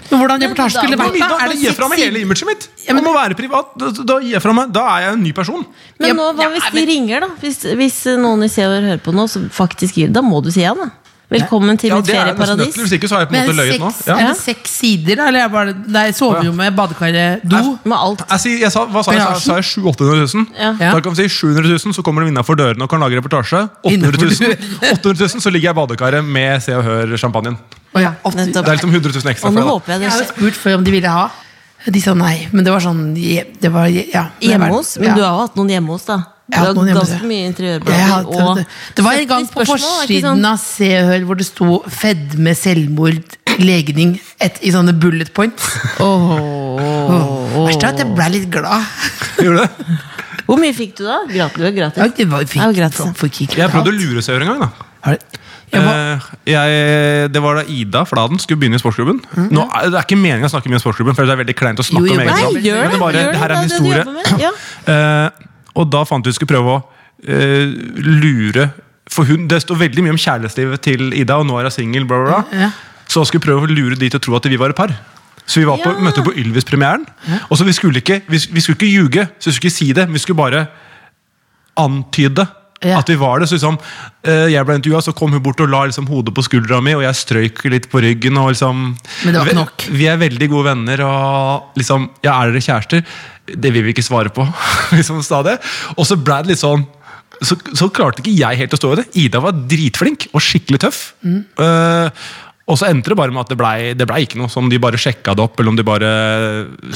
Men hvordan reportasje da- skulle det Da, vært? da, da? Er da det gir jeg fra meg seks hele sider? imaget mitt. Ja, men- Om å være privat. Da, da gir jeg fra meg. Da er jeg en ny person. men nå, hva Ja, hvis de men- ringer, da? Hvis, hvis noen i Se og Hør hører på nå, så faktisk gir Da må du si ja, da. Velkommen til Ja, mitt det er jeg nesten nødt ferieparadis. til, hvis ikke så har jeg på en Men måte løyet nå. seks, Ja. er det seks sider, da? Eller er det bare Nei, soverommet, badekaret, do? Med alt. Jeg, sier- jeg sa, hva sa jeg? Jeg sa, sa jeg 700 000? Ja. Da kan vi si 700 000, så kommer de innenfor dørene og kan lage reportasje. 800 000, 800 000 så ligger jeg i badekaret med Se og Hør-sjampanjen. Å ja, alt- Det er Nettopp. liksom 100 000 ekstra. Og nå for deg, da. håper jeg Jeg det har jo skjer spurt før om de ville ha. De sa nei, men det var sånn je- det var, je- ja, det hjemme var- hos. Men ja. du har jo hatt noen hjemme hos, da. Du Jeg har har hatt noen hjemme hos, ganske ja. mye Jeg har interiørblader. hatt- Og det- Det var en gang 70 på spørsmål, er ikke forsiden sant? av Se og Hør hvor det sto 'fedme, selvmord, legning' et, i sånne bullet points. Åh. Verst er at jeg ble litt glad. Gjorde du det? Hvor mye fikk du, da? Gratis. Du er Ja, gratis. det var, Det er jo fikk, gratis, ja. fikk ikke Jeg prøvde å betalt. lure Se og Hør en gang. da Har du- jeg var, Eh, jeg, det var da Ida Fladen skulle begynne i sportsklubben. Mm. Nå, er- det er ikke meningen å snakke mye om sportsklubben, for det er veldig kleint å Jo, snakke jo, om men- egen Nei, jobb. gjør Men det! det gjør bare, det, det her er en det er det du historie. jobber med. Ja. Eh, og da fant vi skulle prøve å eh, lure For hun, det står veldig mye om kjærlighetslivet til Ida, og nå er hun singel, bla, bla, bla. Ja. Så skulle vi prøve å lure de til å tro at vi var et par. Så vi var på, Ja. møtte på Ylvis-premieren. Og så vi skulle ikke vi, vi skulle ikke ljuge, så vi skulle ikke si det. Vi skulle bare antyde Ja. at vi var det. Så liksom, eh, jeg ble intervjua, så kom hun bort og la liksom, hodet på skuldra mi, og jeg strøyk litt på ryggen. Og, liksom, Men det var ikke vi- nok. Vi er veldig gode venner, og liksom, ja, er dere kjærester? Det vil vi ikke svare på. liksom stadig. Og så ble det litt sånn så, så klarte ikke jeg helt å stå i det. Ida var dritflink og skikkelig tøff. Mm. Eh, og så endte det bare med at det blei det ble ikke noe, som de bare sjekka det opp. eller om de bare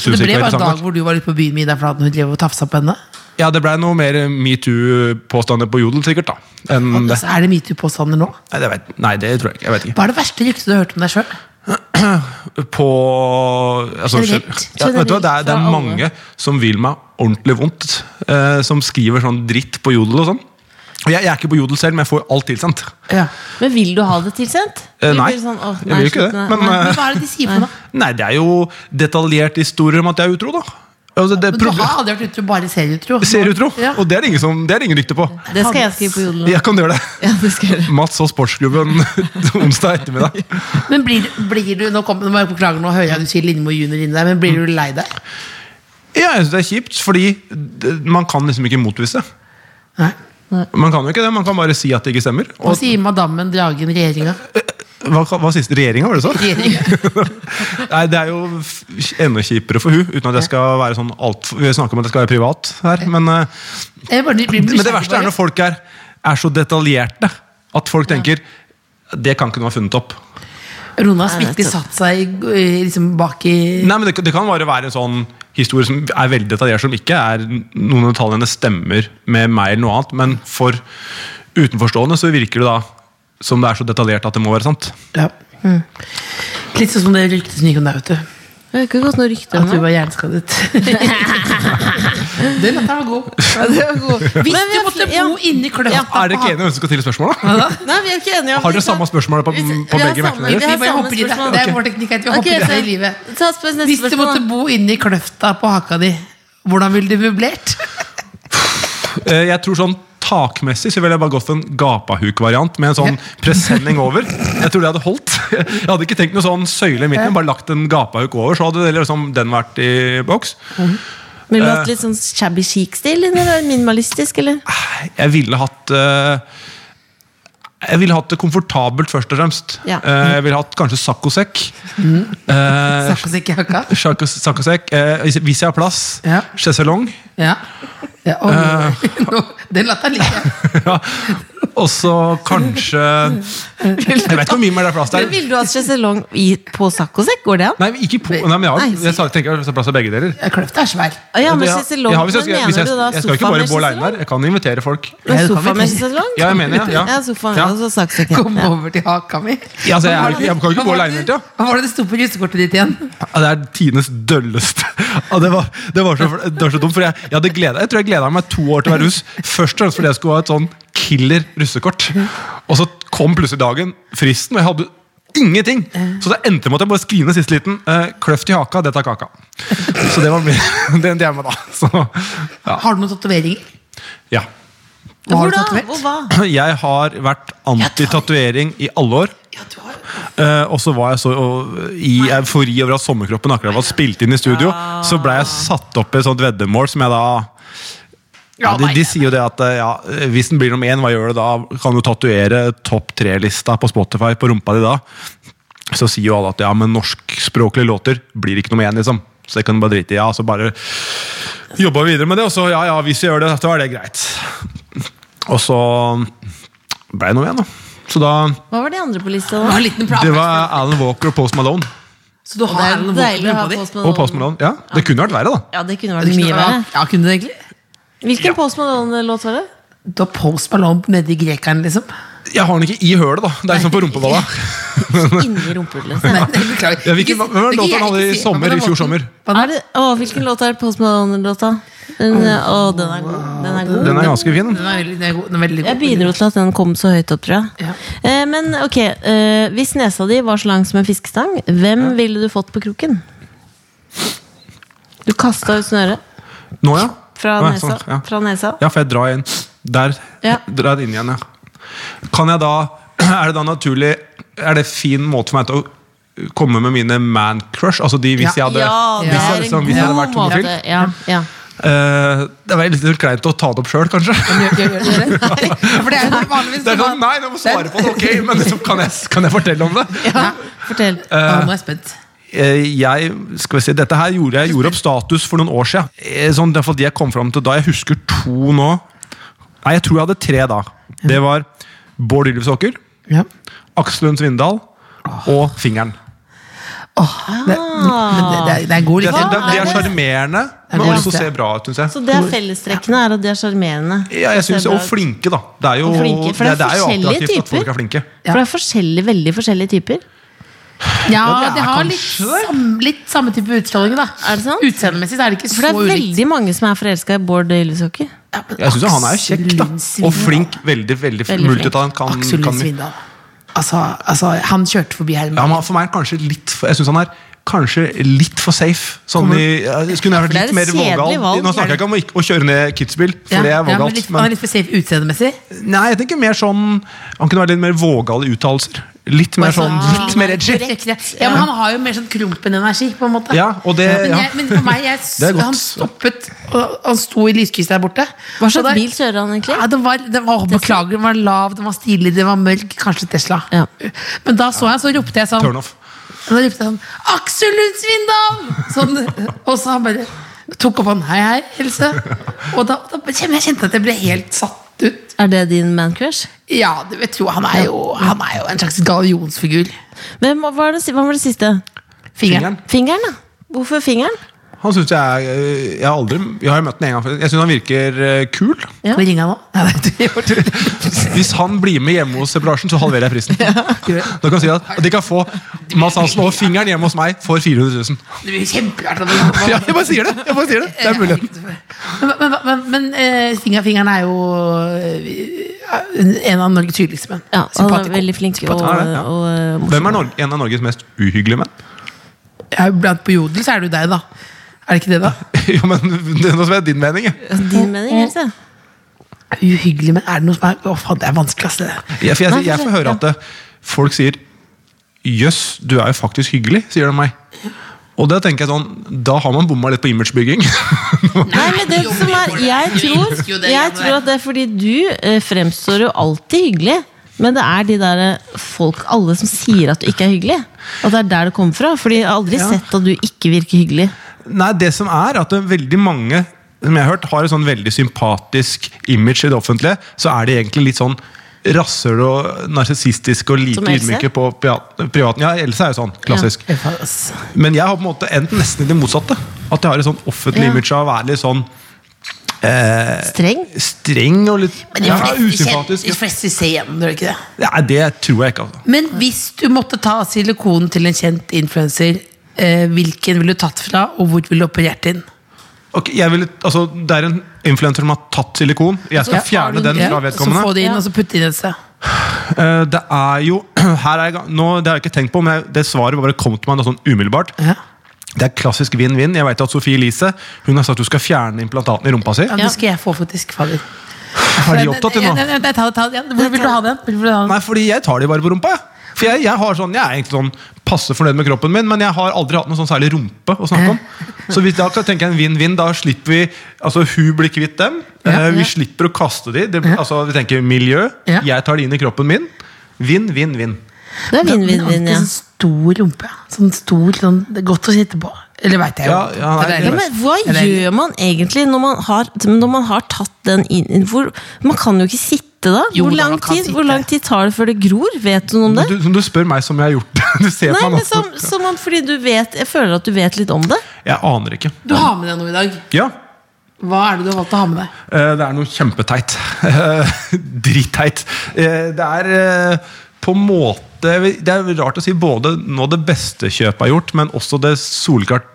så syntes det ble bare en ikke var interessant nok. dag hvor du var litt på byen med Ida Fladen og hun drev og tafsa på henne? Ja, det blei noe mer metoo-påstander på Jodel, sikkert. da enn det. Så er det metoo-påstander nå? Nei, det vet, nei, det tror jeg ikke. Jeg vet ikke. Hva er det verste ryktet du har hørt om deg sjøl? På altså, Generelt. Ja, vet du, hva, det, er, det Fra er alle. mange som vil meg ordentlig vondt. Eh, som skriver sånn dritt på Jodel og sånn. Og jeg, jeg er ikke på Jodel selv, men jeg får alt tilsendt. Ja. Men vil du ha det tilsendt? Eh, Du nei, blir sånn, åh, jeg vil ikke slutt det. med Men, Nei. eh, Men hva er det de sier for noe? nei, det er jo detaljerte historier om at jeg er utro, da. Altså, det, Men du proble- har aldri vært utro, bare serieutro? Ser utro, Ja. og det er det ingen, som- det er det ingen rykte på. Det skal jeg skrive på jodel. nå. Jeg kan gjøre det. Ja, det skal jeg gjøre. Mats og sportsklubben onsdag ettermiddag. Men blir, blir du, nå, kom, nå må jeg beklage, nå hører jeg du sier Lindmo junior inni deg, men blir du lei deg? Ja, jeg synes det er kjipt, fordi det- man kan liksom ikke motvise. Nei. Man kan jo ikke det, man kan bare si at det ikke stemmer. Hva Og, sier madammen, dragen, regjeringa? hva, hva siste regjeringa, var det så? Nei, det er jo f- enda kjipere for hun, uten at jeg skal være sånn alt, vi snakker om at jeg skal være privat her, men, eh, Jeg bare blir men det nysgjerrig verste er på når folk er, er så detaljerte at folk tenker det kan ikke noen ha funnet opp. Rona har Nei, virkelig nettopp. satt seg i- i- liksom bak Mm. i Nei, men det, det kan bare være en sånn historie som er veldig detaljert, som ikke er noen av detaljene stemmer med meg eller noe annet, men for utenforstående så virker det da som det er så detaljert at det må være sant. ja. Litt sånn som det ryktet som gikk om deg, vet du. Det har ikke gått noe rykte At du om det. var hjerneskadet. Den latteren var god. Hvis Men vi du har måtte fl- ja. bo inni kløfta Er dere ikke enige om hvem som skal stille spørsmål? da? Nei, vi er ikke enige om Har dere det, samme sant? spørsmål på, Vi- vi på har begge samme- merkene vi deres? har Vi bare samme hopper i det. spørsmål. Det er vår teknikk. at Vi Ok, hopper i så- det i livet. Ta spørs neste Eh, Hvis du spørsmål, måtte da. bo inni kløfta på haka di, hvordan ville du møblert? Eh, Jeg tror sånn Takmessig så ville jeg bare gått for en gapahuk-variant med en sånn presenning over. Jeg tror det hadde holdt. Jeg hadde ikke tenkt noe sånn søyle i midten, bare lagt en gapahuk over, så hadde det liksom den vært i boks. Ville du hatt Eh. litt sånn shabby chic-stil, eller minimalistisk, eller? Jeg ville hatt eh, Jeg ville hatt det komfortabelt, først og fremst. Ja. Eh, jeg ville hatt kanskje saccosekk. Eh, Snakkes ikke i haka? sacco- Saccosekk. Eh, hvis- hvis jeg har plass. Ja. Sjeselong. Ja. ja. oi, Eh. nå- Den latteren liker jeg. Ja. Og så kanskje Jeg vet ikke hvor mye mer det er plass Men der. Ville du hatt sjeselong i- på saccosekk? Går det an? Nei, ikke på, nei, men jeg, har, Nei, jeg sa- tenker det er plass til begge deler. Ja, Kløfta er svær. Å Ah, Ja, men Jeg- sjeselong, jeg men har- hvis jeg skal- mener hvis jeg- du da Jeg skal ikke sofa bare med bo aleine sjeselong? her. Jeg kan invitere folk. Ja, Men det kan sofa vi med tenke. sjeselong? Ja, jeg mener det, ja. Ja, altså. sofa Ja. med og så saccosekk. Kom ja. over til haka mi. Ja, altså, jeg er jo ikke- jeg kan ikke Hva bo var det- alene hele tida. Hva var det det sto på russekortet ditt igjen? Ja, det er tidenes dølleste. Ja, det, var, det, var så, det var så dumt. For jeg, jeg, hadde gledet, jeg tror jeg gleda meg to år til å være russ. Først og fremst fordi jeg skulle ha et sånn killer russekort. Og så kom plutselig dagen, fristen, og jeg hadde ingenting. Så det endte med at jeg bare skrev ned siste liten. eh, kløft i haka, det tar kaka. Så det var min, det endte jeg med da. Så, ja. Har du noen tatoveringer? ja. Hva har Hvor du da? tatovert? Hvor hva? Jeg har vært anti-tatovering i alle år. Ja, du har Eh, og så var jeg så og, i eufori over at sommerkroppen akkurat var spilt inn i studio. Så ble jeg satt opp i et sånt veddemål som jeg da Ja, de, nei. de sier jo det at eh, ja, hvis den blir nummer én, hva gjør du da? Kan du tatuere topp tre-lista på Spotify på rumpa di da? Så sier jo alle at ja, men norskspråklige låter blir ikke nummer én, liksom. Så det kan du bare drite i. Ja, så bare jobba videre med det, og så ja, ja, hvis vi gjør det, så er det greit. Og så ble det nummer én, da. Så da Hva var de andre på lista? Du da? har en liten plate. Det var Alan Walker og Post Malone. Så du Det har er jo noen deilig å ha våpen på Post deg? Og Post Malone. Malone. Ja, det kunne vært verre, da. Mm. Ja, det kunne vært mye Ja, verre. ja, kunne du egentlig? Hvilken Post Malone-låt var det? Du har Post Malone nedi grekeren, liksom? Jeg har den ikke i hølet, da. Det er liksom på rumpeballa. Inni rumpehullet. liksom. Beklager. Ja, hvilken- hvem var det låten han hadde i sommer, i fjor sommer? Er det- Å, Hvilken låt er det Post Malone-låta? Den, eh, å, den er god. Den er god. Den er ganske fin. Den er veldig, den er god, den er veldig god. Jeg bidro til at den kom så høyt opp, tror jeg. Ja. Eh, men ok, eh, hvis nesa di var så lang som en fiskestang, hvem ville du fått på kroken? Du kasta ut snøret Nå, ja. fra Å, ja, nesa. sånn, ja. Fra nesa. Ja, for jeg drar inn der. Ja. Drar inn igjen, ja. Kan jeg da Er det da naturlig Er det fin måte for meg til å komme med mine man-crush? Altså de hvis Ja. jeg hadde Ja, det hvis jeg, er liksom, en hvis jeg hadde vært god homofil? måte. Ja, ja. Eh, det var litt kleint å ta det opp sjøl, kanskje. Gjør, gjør, gjør dere det? Ja, For det er jo vanligvis Det er sånn, Nei, jeg må svare på det, ok, men liksom, kan, jeg, kan jeg fortelle om det? Ja. Fortell. Ja, nå er jeg spent. Eh, jeg, skal vi si, dette her gjorde jeg gjorde opp status for noen år siden. Eh, Sånn, det er fordi jeg kom fram til da. Jeg husker to nå. Nei, jeg tror jeg hadde tre da. Det var Bård Ylvisåker, Ja. Aksel Lund Svindal og Fingeren. Åh, det, men det, det, er, det er god liksom. Det, liste. det, det, er er Ah. det? sjarmerende, men det også lite? ser bra ut, syns jeg. Så det er fellestrekkene, er at de er sjarmerende. Ja, jeg synes, Ser bra og ut. flinke, da. Det er jo, Og flinke, for det er jo forskjellige attraktivt at folk typer. er flinke. For det er forskjellige, veldig forskjellige typer. Ja, det er det har kanskje litt, det. sam, litt samme type utstråling, da. Er det sant? Utseendemessig så er det ikke For det så er ulikt. veldig mange som er forelska i Bård Ylvisåker. Jeg syns han er jo kjekk, da. Aksel Lund Og flink. Veldig, veldig, Veldig flink. multitalent. Kan, Aksel Lund kan, Svindal. Altså, altså, han kjørte forbi her. Ja, men for meg er han kanskje litt for, Jeg synes han er kanskje litt for safe. Sånn i, jeg skulle jeg vært det er litt mer et kjedelig vågal. valg. Nå snakker jeg ikke om å, ikke- å kjøre ned kidsbil, for det er men vågalt. litt, han er men, litt for safe utseendemessig. nei, jeg tenker mer sånn Han kunne vært litt mer vågal i uttalelser. Litt mer Altså, sånn, Ah, litt mer edgy. korrekt, Ja, Ja, men han har jo mer sånn krumpen energi, på en måte. Ja, og det- men, ja. jeg, men for meg, jeg, s- Det er godt. han stoppet og Han sto i lyskrysset der borte. Hva Og da- slags bil kjører han egentlig? Ja, den var, den var, beklager, den var lav, den var stilig, den var mørk. Kanskje Tesla. Ja. Men da så jeg, så ropte jeg sånn Turn off. Da ropte jeg sånn Aksel Lund Svindal! Sånn, og så han bare tok opp hånden. Hei, hei, Else. Og da, da kjenner jeg kjente at jeg ble helt satt ut. Er det din mancrush? Ja, du vet jo, han er jo, han er jo en slags gallionsfigur. Hvem, hva, var det, si- hva var det siste? Fingeren. Fingeren. Fingeren, da. Hvorfor fingeren? Han synes jeg er øh, Jeg har aldri Jeg har jo møtt ham en gang før. Jeg syns han virker øh, kul. Ja. Skal vi ringe han nå? Nei, nei, du gjør det. Hvis han blir med hjemme hos separasjen, så halverer jeg prisen. Da kan jeg si at De kan få Mads Hansen og fingeren hjemme hos meg for 400 000. Det blir kjempeartig. om han- Ja, jeg bare sier det! Jeg bare sier det. det er muligheten. Men, men, men, men eh, finger, fingeren er jo eh, en av Norges tydeligste menn. Ja, han var Sympatico. veldig flink og, Ja, ja. og, eh, og Hvem er Norge, en av Norges mest uhyggelige menn? Ja, blant på Jodel så er det jo deg, da. Er det ikke det, da? jo, men det- Nå som er din mening. jeg. Din mening, Else? Uhyggelig, men er det noe som er Å, faen, det er vanskelig, ass. det. Jeg, for Nei, jeg, jeg får høre at ja. eh, folk sier 'jøss, du er jo faktisk hyggelig', sier de meg. Og da tenker jeg sånn, da har man bomma litt på imagebygging. Nei, men det som er Jeg tror, jeg tror at det er fordi du eh, fremstår jo alltid hyggelig. Men det er de der eh, folk, alle som sier at du ikke er hyggelig. At det er der det kommer fra. Fordi jeg har aldri sett at du ikke virker hyggelig. Nei, det som er at det er veldig mange som jeg har hørt, har et sånn veldig sympatisk image i det offentlige. Så er de egentlig litt sånn rasshøl og narsissistiske og lite Som Else? ydmyke på pia- privaten. Ja, Else er jo sånn. Klassisk. Men jeg har på en måte endt nesten i det motsatte. At jeg har et sånn offentlig Ja. image av å være litt sånn Streng. streng og litt ja, usympatisk. De fleste ser gjennom, gjør de ikke det? Nei, det tror jeg ikke. altså. Men hvis du måtte ta silikon til en kjent influenser, eh, hvilken ville du tatt fra, og hvor ville du operert inn? Ok, jeg ville, altså, Det er en influenser som har tatt silikon. Jeg skal Ja, Altså, har fjerne du- den ja, fra Så få vedkommende. det inn, Ja. og så putte inn et sted. Eh, Det er jo her er jeg, ga- nå, Det har jeg ikke tenkt på, men jeg- det svaret bare kom til meg da, sånn umiddelbart. Ja. Det er klassisk vinn-vinn. Jeg vet at Sofie Elise hun har sagt at hun skal fjerne implantatene i rumpa si. Ja, Ja. det skal jeg få, faktisk. Fader. Er de opptatt til Nei, nå? nei, nei, ta det, ta det. Hvor vil du ha den? Hvor vil du ha den? Nei, fordi jeg tar de bare på rumpa. jeg. For jeg, jeg har sånn, jeg er egentlig sånn passe fornøyd med kroppen min, men jeg har aldri hatt noe sånn særlig rumpe å snakke om. Så hvis da kan jeg tenke en vinn-vinn, da slipper vi Altså, hun blir kvitt dem. eh, Vi slipper å kaste de. Det, altså, vi tenker miljø. Ja. Jeg tar de inn i kroppen min. Vinn, vinn, vinn. Det er vinn-vinn-vinn, Alltid ja. Sånn stor rumpe. Sånn stor, sånn, det er godt å sitte på. Eller veit jeg jo. Ja, ja, nei, Det er Ja, det deilig. vet men Hva Det er deilig. gjør man egentlig når man har, når man har tatt den inn? Hvor, man kan jo ikke sitte da. Jo Hvor da, lang, man kan tid, sitte. hvor lang tid tar det før det gror? Vet du noe om det? Du, som du spør meg som jeg har gjort det. Du ser Nei, på meg men nå. sånn- som, som om, fordi du vet, Jeg føler at du vet litt om det. Jeg aner ikke. Du har med deg noe i dag. Ja, Hva er det du har valgt å ha med deg? Eh, Det er noe kjempeteit. Eh, Dritteit. Eh, Det er eh, på en måte Det er rart å si både nå det beste kjøpet jeg har gjort, men også det solklart,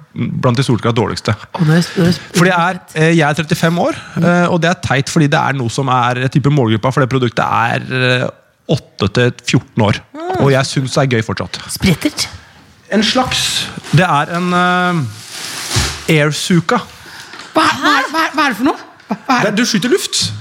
blant de solklart dårligste. Å, nå er det- nå er det- For det er, eh, Jeg er 35 år, Mm. eh, og det er teit fordi det er noe som er jeg tipper målgruppa for det produktet er eh, 8 til 14 år. Ah. Og jeg syns det er gøy fortsatt. Sprettert. En slags Det er en eh, airsuka. Hva, hva, er, hva, er, hva er det for noe? Hva, hva er, Det er- Du skyter luft.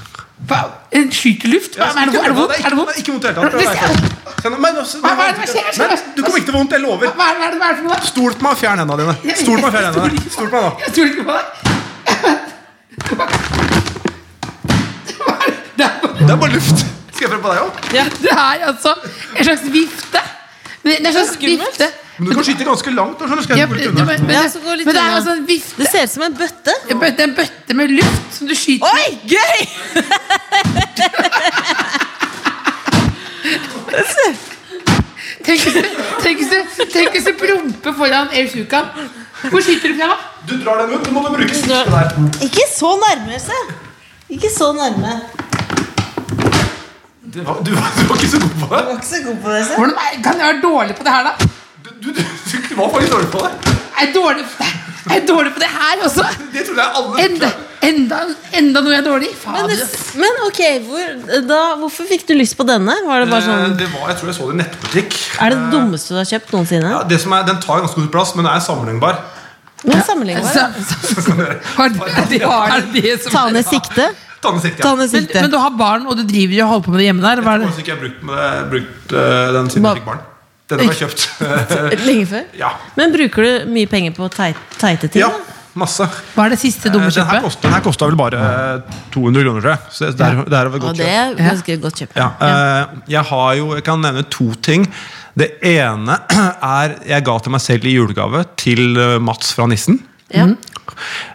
hva, en skyteluft? Hva, er det er det vondt? Er det vondt? Nei, Ikke vondt i det hele tatt. Hvis jeg- Kjenn- men også- Hva- hva er det som skjer? Nei, Du kommer ikke til å få vondt, jeg lover. Hva er, hva er, det- hva er det for noe? Stol på meg og fjern hendene dine. Stol på meg og fjern hendene. Stol på meg nå. Jeg tror ikke på deg. Hva er det- Det er bare- Det er bare luft. Skal jeg prøve på deg òg? Det er altså en slags vifte. Det det er en slags skummelt. vifte. Men du kan skyte ganske langt. da, skjønner du. Skal Ja, jeg gå men, litt ja, unna? men, men, Ja, så gå litt men det er unna. altså en vifte. Det ser ut som en bøtte. En bøtte- en bøtte med luft som du skyter Oi, gøy! Tenk hvis du- tenk hvis du- tenk hvis du promper foran Airsuka. Hvor skyter du fra? Du drar den ut. Du må da bruke sikte der. Ikke så nærme, se. Ikke så nærme. Det var- Du var du var ikke så god på det. var ikke så god på det, se. Hvordan er, kan jeg være dårlig på det her, da? Du- Du du- du var faktisk dårlig på det. Er jeg dårlig, er jeg dårlig på det her også? Det trodde jeg alle Enda, enda, enda noe jeg er dårlig i? Men, Fader. det- men ok, hvor, da, hvorfor fikk du lyst på denne? Var det bare Eh, sånn, Det var, Jeg tror jeg så det i nettbutikk. er det det dummeste du har kjøpt noensinne? Ja, det som er, Den tar ganske god plass, men den er sammenlignbar. Men sammenlignbar. Så- så- Har du- har du det som- Ta ned sikte. Ta den sikte. Ta ja. ned Men, sikte. men du har barn, og du driver jo og holder på med det hjemme der? Hva er det? Kanskje ikke jeg har brukt, med det, brukt eh, den siden jeg fikk barn. Den har jeg kjøpt. Lenge før? Ja. Men bruker du mye penger på tei- teite ting? Ja, da? masse. Hva er det siste dumme Eh, Den her kjøpet? kosta, den her kosta vel bare eh, 200 kroner, tror jeg. Så det, det, er, det er et Ja, godt det kjøp. er ganske godt kjøpt. Ja, eh, jeg har jo, jeg kan nevne to ting. Det ene er jeg ga til meg selv i julegave til eh, Mats fra Nissen. Ja. mhm.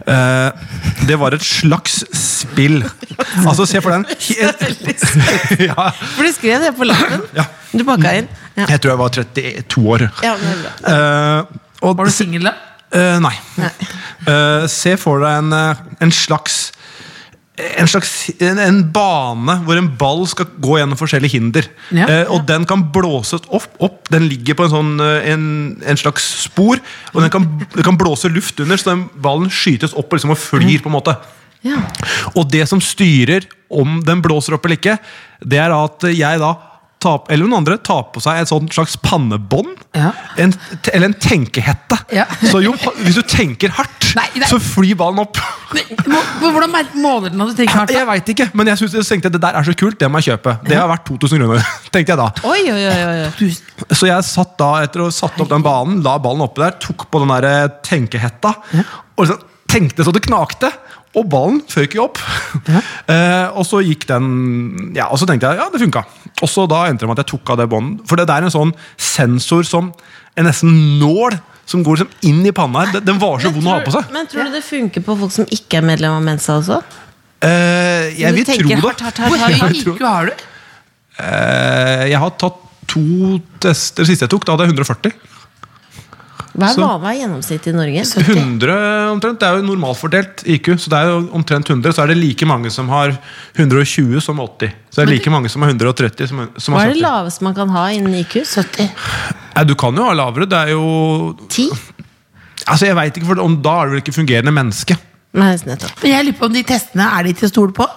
Eh, det var et slags spill. Altså, se for deg en ja, For du skrev det på lappen. ja. Du pakka inn. Ja. Jeg tror jeg var 32 år. Ja, men det er bra. Eh, og Var du singel, da? Eh, nei. Nei. Eh, se for deg en, eh, en slags en slags en, en bane hvor en ball skal gå gjennom forskjellige hinder. Ja. Eh, og den kan blåses opp, opp. Den ligger på en, sånn, eh, en, en slags spor. Og den kan, den kan blåse luft under, så den ballen skytes opp og, liksom, og Mm. flyr. på en måte Ja. og det som styrer om den blåser opp eller ikke, det er at jeg da tar, eller noen andre tar på seg et sånt slags pannebånd. Ja. En, eller en tenkehette. Ja. Så jo, hvis du tenker hardt, Nei, nei. så flyr ballen opp. Men, må, må- hvordan mer- måler den at du tenker hardt? Jeg veit ikke, men jeg synes, jeg tenkte det der er så kult, det må jeg kjøpe. Det har vært 2000 kroner. tenkte jeg da. Oi, oi, oi, oi, oi. Tusen. Så jeg satt da etter å ha satt opp den banen, la ballen oppe der, tok på den der eh, tenkehetta, og liksom tenkte så det knakte. Og ballen føyk jo opp. Eh, og så gikk den Ja, og så tenkte jeg ja, det funka. Og så da endte det med at jeg tok av det båndet. For det der er en sånn sensor som en nesten nål som går liksom inn i panna her. Den- Den var så vond å ha på seg. Men tror du det funker på folk som ikke er medlem av Mensa også? Eh, jeg Du vil tenker tro det. hardt, hardt, hardt, Hvor hardt. høy Jeg tror- IQ har du? Eh, jeg har tatt to tester. Det siste jeg tok, da hadde jeg 140. Hva er Så- vanlig gjennomsnitt i Norge? 100 omtrent, Det er jo normalfordelt IQ, så det er jo omtrent 100. Så er det like mange som har 120 som 80. Så det er like mange som har 130 som, som Hva har er det 70. laveste man kan ha innen IQ? 70? Nei, du kan jo ha lavere. Det er jo 10? Altså, jeg vet ikke, for om Da er du vel ikke fungerende menneske. Nei, nettopp. Men jeg lurer på om de testene er de til å stole på?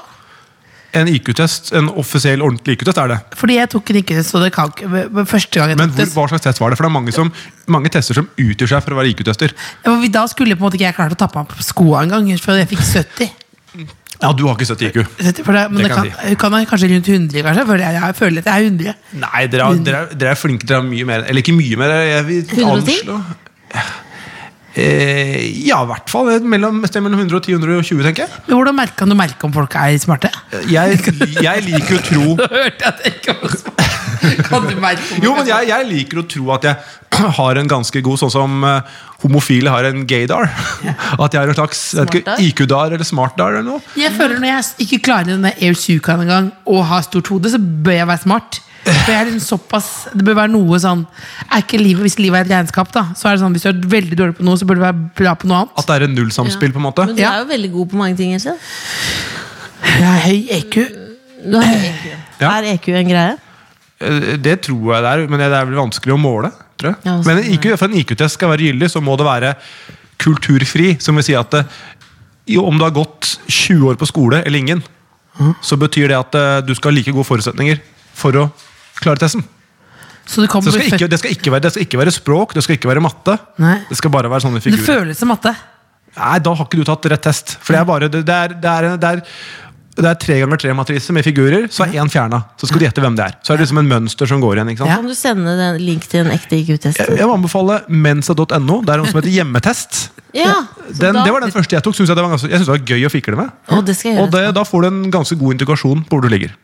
En IQ-test, en offisiell, ordentlig IQ-test er det. Fordi jeg tok den ikke, så det kan ikke men Første gang jeg Men tok hvor, det, hva slags test var det? For det er mange, som, mange tester som utgjør seg for å være IQ-tester. Ja, men Da skulle på en måte ikke jeg klart å tappe meg på skoa engang, før jeg fikk 70. Ja, du har ikke 70 IQ. Sett- For det, men Det det kan kan, kan være kanskje rundt 100, kanskje. For jeg, jeg føler at jeg er 100. Nei, dere er, dere, er, dere er flinke. Dere har mye mer Eller ikke mye mer. Jeg vil 110? anslå eh, Ja, i hvert fall. et Mellom, sted mellom 110 og 120, tenker jeg. Men hvordan merker, kan du merke om folk er smarte? Jeg, jeg liker å tro Hørte jeg det ikke var smart? Kan du merke om Jo, men jeg, jeg liker å tro at jeg har en ganske god Sånn som eh, homofile har en gaydar. At jeg har en slags jeg vet ikke, IQ-dar eller smart-dar eller noe. Jeg føler Når jeg ikke klarer denne AirSukaen engang å ha stort hode, så bør jeg være smart. For jeg er liksom såpass Det bør være noe sånn er ikke livet, Hvis livet er et regnskap, da Så er det sånn hvis du er veldig dårlig på noe, så bør du være bra på noe annet. At det er et nullsamspill, på en måte. Men du Ja. er jo veldig god på mange ting. Else. Jeg er høy E EQ. Du har E EQ. Eh, Ja. Er EQ en greie? Eh, Det tror jeg det er, men det er vel vanskelig å måle. Tror jeg. Ja, sånn men en er IQ, for en IQ-test skal være gyldig, så må det være kulturfri. Som vil si at eh, jo, om du har gått 20 år på skole eller ingen, så betyr det at eh, du skal ha like gode forutsetninger for å klare testen. Så du kan Så det, bli skal ikke, født det, skal ikke være, det skal ikke være språk, det skal ikke være matte. Nei. Det skal bare være sånne Det figurer. føles som matte. Nei, da har ikke du tatt rett test. For det er bare Det, det, er, det, er, det, er, det er tre ganger tre matriser med figurer, så er én fjerna. Så skal du gjette hvem det er. Så er det liksom en mønster som går igjen. ikke sant? Ja. Kan du sende en link til en ekte E IQ-test? Eh, Jeg jeg må anbefale mensa.no. Det er noe som heter Hjemmetest. Ja, så Den, da- det var den første jeg tok. Synes jeg, det var ganske, jeg synes det var gøy å fikle med. Å, det skal jeg Og gjøre. det, da får du en ganske god indikasjon på hvor du ligger.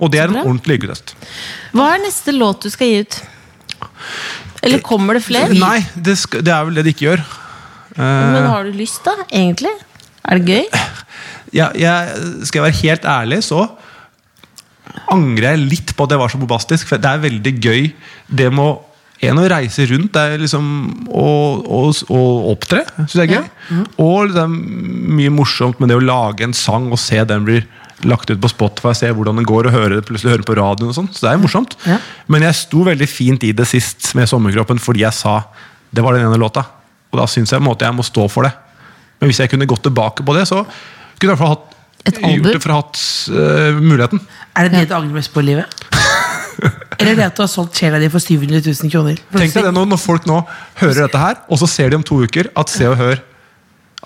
Og det er en bra. ordentlig IQ-test. Hva er neste låt du skal gi ut? Eller kommer det flere? Nei, det, skal, det er vel det de ikke gjør. Men har du lyst, da? Egentlig? Er det gøy? Jeg, jeg, skal jeg være helt ærlig, så angrer jeg litt på at det var så bombastisk. For det er veldig gøy det med å en å reise rundt det er liksom å, å, å opptre, syns jeg er gøy. Og det er mye morsomt med det å lage en sang og se den blir lagt ut på Spotify, se hvordan den går og høre det, plutselig høre på radioen og sånn. Så det er jo morsomt. Ja. Men jeg sto veldig fint i det sist med Sommerkroppen fordi jeg sa det var den ene låta. Og da syns jeg på en måte jeg må stå for det. Men hvis jeg kunne gått tilbake på det, så kunne jeg i hvert fall hatt Et album? gjort det for å ha hatt eh, muligheten. Er det det du angrer mest på i livet? Eller det at du har solgt sjela di for 700 000 kroner? Tenk deg det når, når folk nå hører dette her, og så ser de om to uker at Se og Hør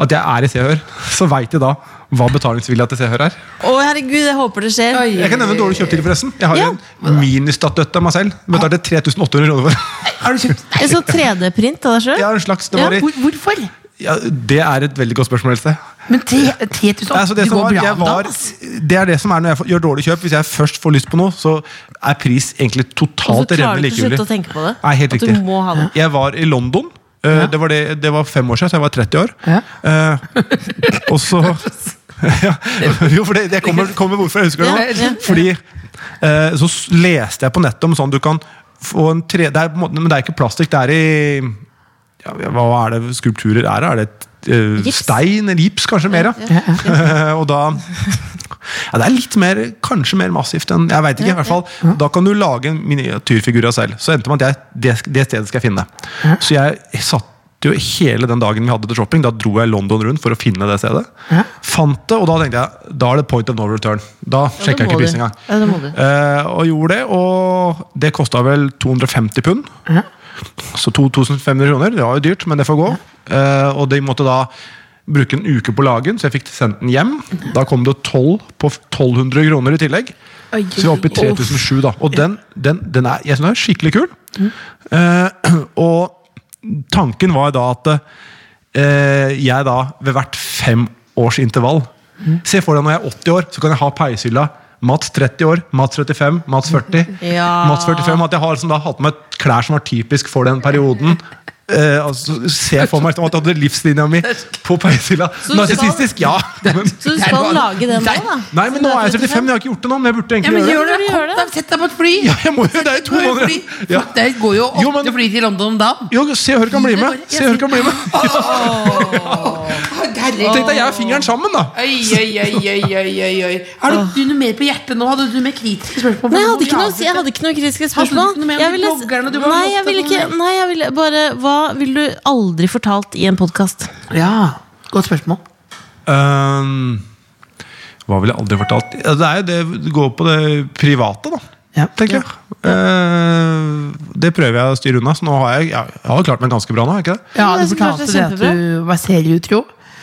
At jeg er i Se og Hør, så veit de da hva betalingsvilja til Se og Hør er. Å, herregud, jeg håper det skjer. Oi. Jeg kan nevne en dårlig kjøptid, forresten. Jeg har Ja. en ministatuett av meg selv. Den Betalte 3800 kroner for. Har du kjøpt En sånn 3D-print av deg Jeg sjøl? har en slags, det, Ja, var i, Hvor, Hvorfor? ja, det er et veldig godt spørsmål. Else. Men 3000 Nei, altså, Det det, som går var, bra jeg om dagen. var, ass. det er det som er når jeg får- gjør dårlige kjøp. Hvis jeg først får lyst på noe, så er pris egentlig Og så totalt klarer du revne ikke å likegyldig. slutte å tenke på det? Nei, helt At riktig. du må ha det. Jeg var i London. Eh, det, var det, det var fem år siden, så jeg var 30 år. Ja. Eh, og så ja, Jo, for det, jeg kommer, kommer hvorfor jeg husker det Ja, ja. nå. Fordi eh, så s- leste jeg på nettet om sånn du kan få en tre... Det er, på en måte- men det er ikke plastikk, det er i ja, Hva er det skulpturer er? Er det et, eh, Gips. stein? eller Gips, kanskje? Mer, ja. Eh, og da ja, Det er litt mer, kanskje mer massivt enn Jeg vet ikke, i hvert fall Da kan du lage en miniatyrfigur av selv Så endte man at jeg, det, det stedet skal jeg finne Så jeg satt jo hele den dagen vi hadde til shopping Da dro jeg London rundt for å finne det stedet Fant det, og da tenkte jeg Da er det point of no return Da Ja, sjekker det må du. jeg ikke prisen engang Ja, det må du. Eh, og gjorde det, og det kosta vel 250 pund. Så 2500 kroner. Det var jo dyrt, men det får gå. Eh, og de måtte da bruke en uke på lagen, så jeg fikk sendt den hjem. Da kom det 12 på 1200 kroner i tillegg. Oi, Så vi var oppe i 3007, da. Og den, den, den er, jeg synes den er skikkelig kul. Eh, og tanken var da at eh, jeg da ved hvert femårsintervall Se for deg når jeg er 80 år, så kan jeg ha peishylla. Mats 30 år, Mats 35, Mats 40. Ja. Mats 45, At jeg har liksom da hatt med klær som var typisk for den perioden. Eh, altså, se for meg liksom at jeg hadde livslinja mi på peishylla. Så Narsissistisk, ja. Men, Så du skal lage den nå, da? nei, men nå er jeg 35, men jeg har ikke gjort det nå. Men jeg burde Ja, egentlig men gjøre det. gjør det! Gjør det. Kom deg, sett deg på et fly! Ja, jeg må jo det i to Fly, måneder! fly. Ja. Det går jo åtte Jo, men- fly til London om dagen. Jo, se og hør kan bli med! Se og hør kan bli med Tenk deg, jeg har fingeren sammen, da! Oi, oi, oi, oi, oi, oi, oi. Har du, du noe mer på hjertet nå? Hadde du mer kritiske spørsmål? Nei, jeg hadde ikke noe, jeg hadde ikke noe kritiske spørsmål. Hadde du ikke noe med om Jeg de ville, bloggerne du var nei, opptatt jeg ville av? ikke Nei, jeg ville bare Hva ville du aldri fortalt i en podkast? Ja, Godt spørsmål. Øhm, Ehm, hva ville jeg aldri fortalt? Ja, Det er jo det det går på det private, da. Ja. Tenker jeg. Eh, det prøver jeg å styre unna, så nå har jeg, jeg har klart meg ganske bra nå. har jeg ikke det? Ja, Ja, Du jeg synes fortalte det det er at du var seriutro.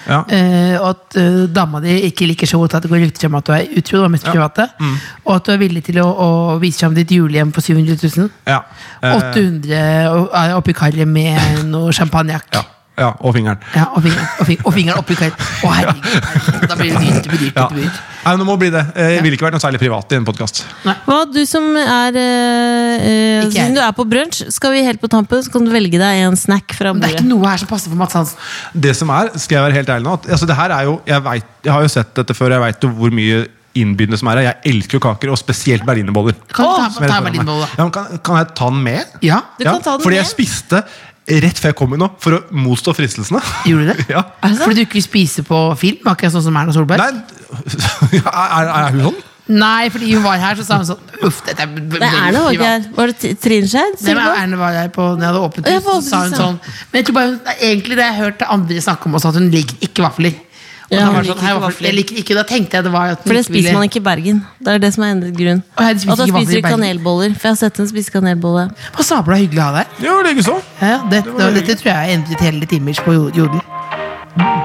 Ja. Eh, og at eh, dama di ikke liker så godt at det går rykter om at du er utro, og mest private. Mm. Og at du er villig til å, å vise fram ditt julehjem på 700 000. Ja. Eh, 800 og- er oppi karret med noe champagnejakk. Ja. ja. Og fingeren. Ja, og fingeren, og fingeren, og fingeren oppi karret. Å, herregud. Da blir det dyrt. Det blir dyrt. Ja. Det blir dyrt. Nei, men det må bli det. Eh, Jeg ville ikke vært noe særlig privat i en podkast. Hva, du som er eh, eh, Ikke jeg. Siden du er på brunsj, skal vi helt på tampen, så kan du velge deg en snack fra Men det er bordet. ikke noe her som passer for Mads Hansen. Det som er, skal jeg være helt ærlig nå at, altså, det her er jo, jeg, vet, jeg har jo sett dette før, jeg veit jo hvor mye innbydende som er her. Jeg elsker jo kaker, og spesielt berlinerboller. Kan du ta, Som ta jeg rett meg foran litt meg. nå, da? Ja, men kan, kan jeg ta den med? Ja, Du kan ta den fordi med. jeg spiste rett før jeg kom hit nå, for å motstå fristelsene. gjorde du det? Ja. Er det sant? Fordi du ikke vil spise på film? Akkurat sånn som Erna Solberg? Nei, er, er, er hun sånn? Nei, fordi hun var her, så sa hun sånn Uff, dette er Det er noe ikke her. Var det Trinskjær? Det var Erna var her på når jeg hadde åpent Ja, hus, på så sa hun åpent sånn Men jeg tror bare hun, egentlig det jeg har hørt andre snakke om også, at hun liker ikke vafler. Og Ja, hun da var det liker sånn, «Hei, ikke vafler. Jeg liker ikke, da tenkte jeg det var at hun For det spiser man ikke i Bergen. Det er det som er endret grunn. Å, jeg spiser Og da ikke spiser vafler i de Bergen. kanelboller. For jeg har sett henne spise kanelbolle. Hva sabla hyggelig å ha deg. Ja, likeså. Ja, det, det, dette tror jeg har endret hele ditt image på jo- jodel.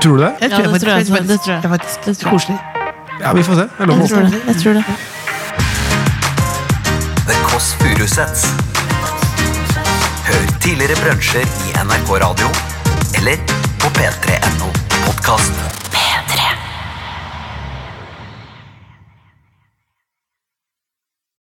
Tror du det? Jeg Ja, tror jeg det tror jeg faktisk- også. Det tror jeg. Det er faktisk Det tror jeg. koselig. Ja, vi får se. Jeg Jeg lover å tror det. Jeg tror det. The Kåss Furuseths. Hør tidligere brunsjer i NRK Radio eller på p3.no podkast.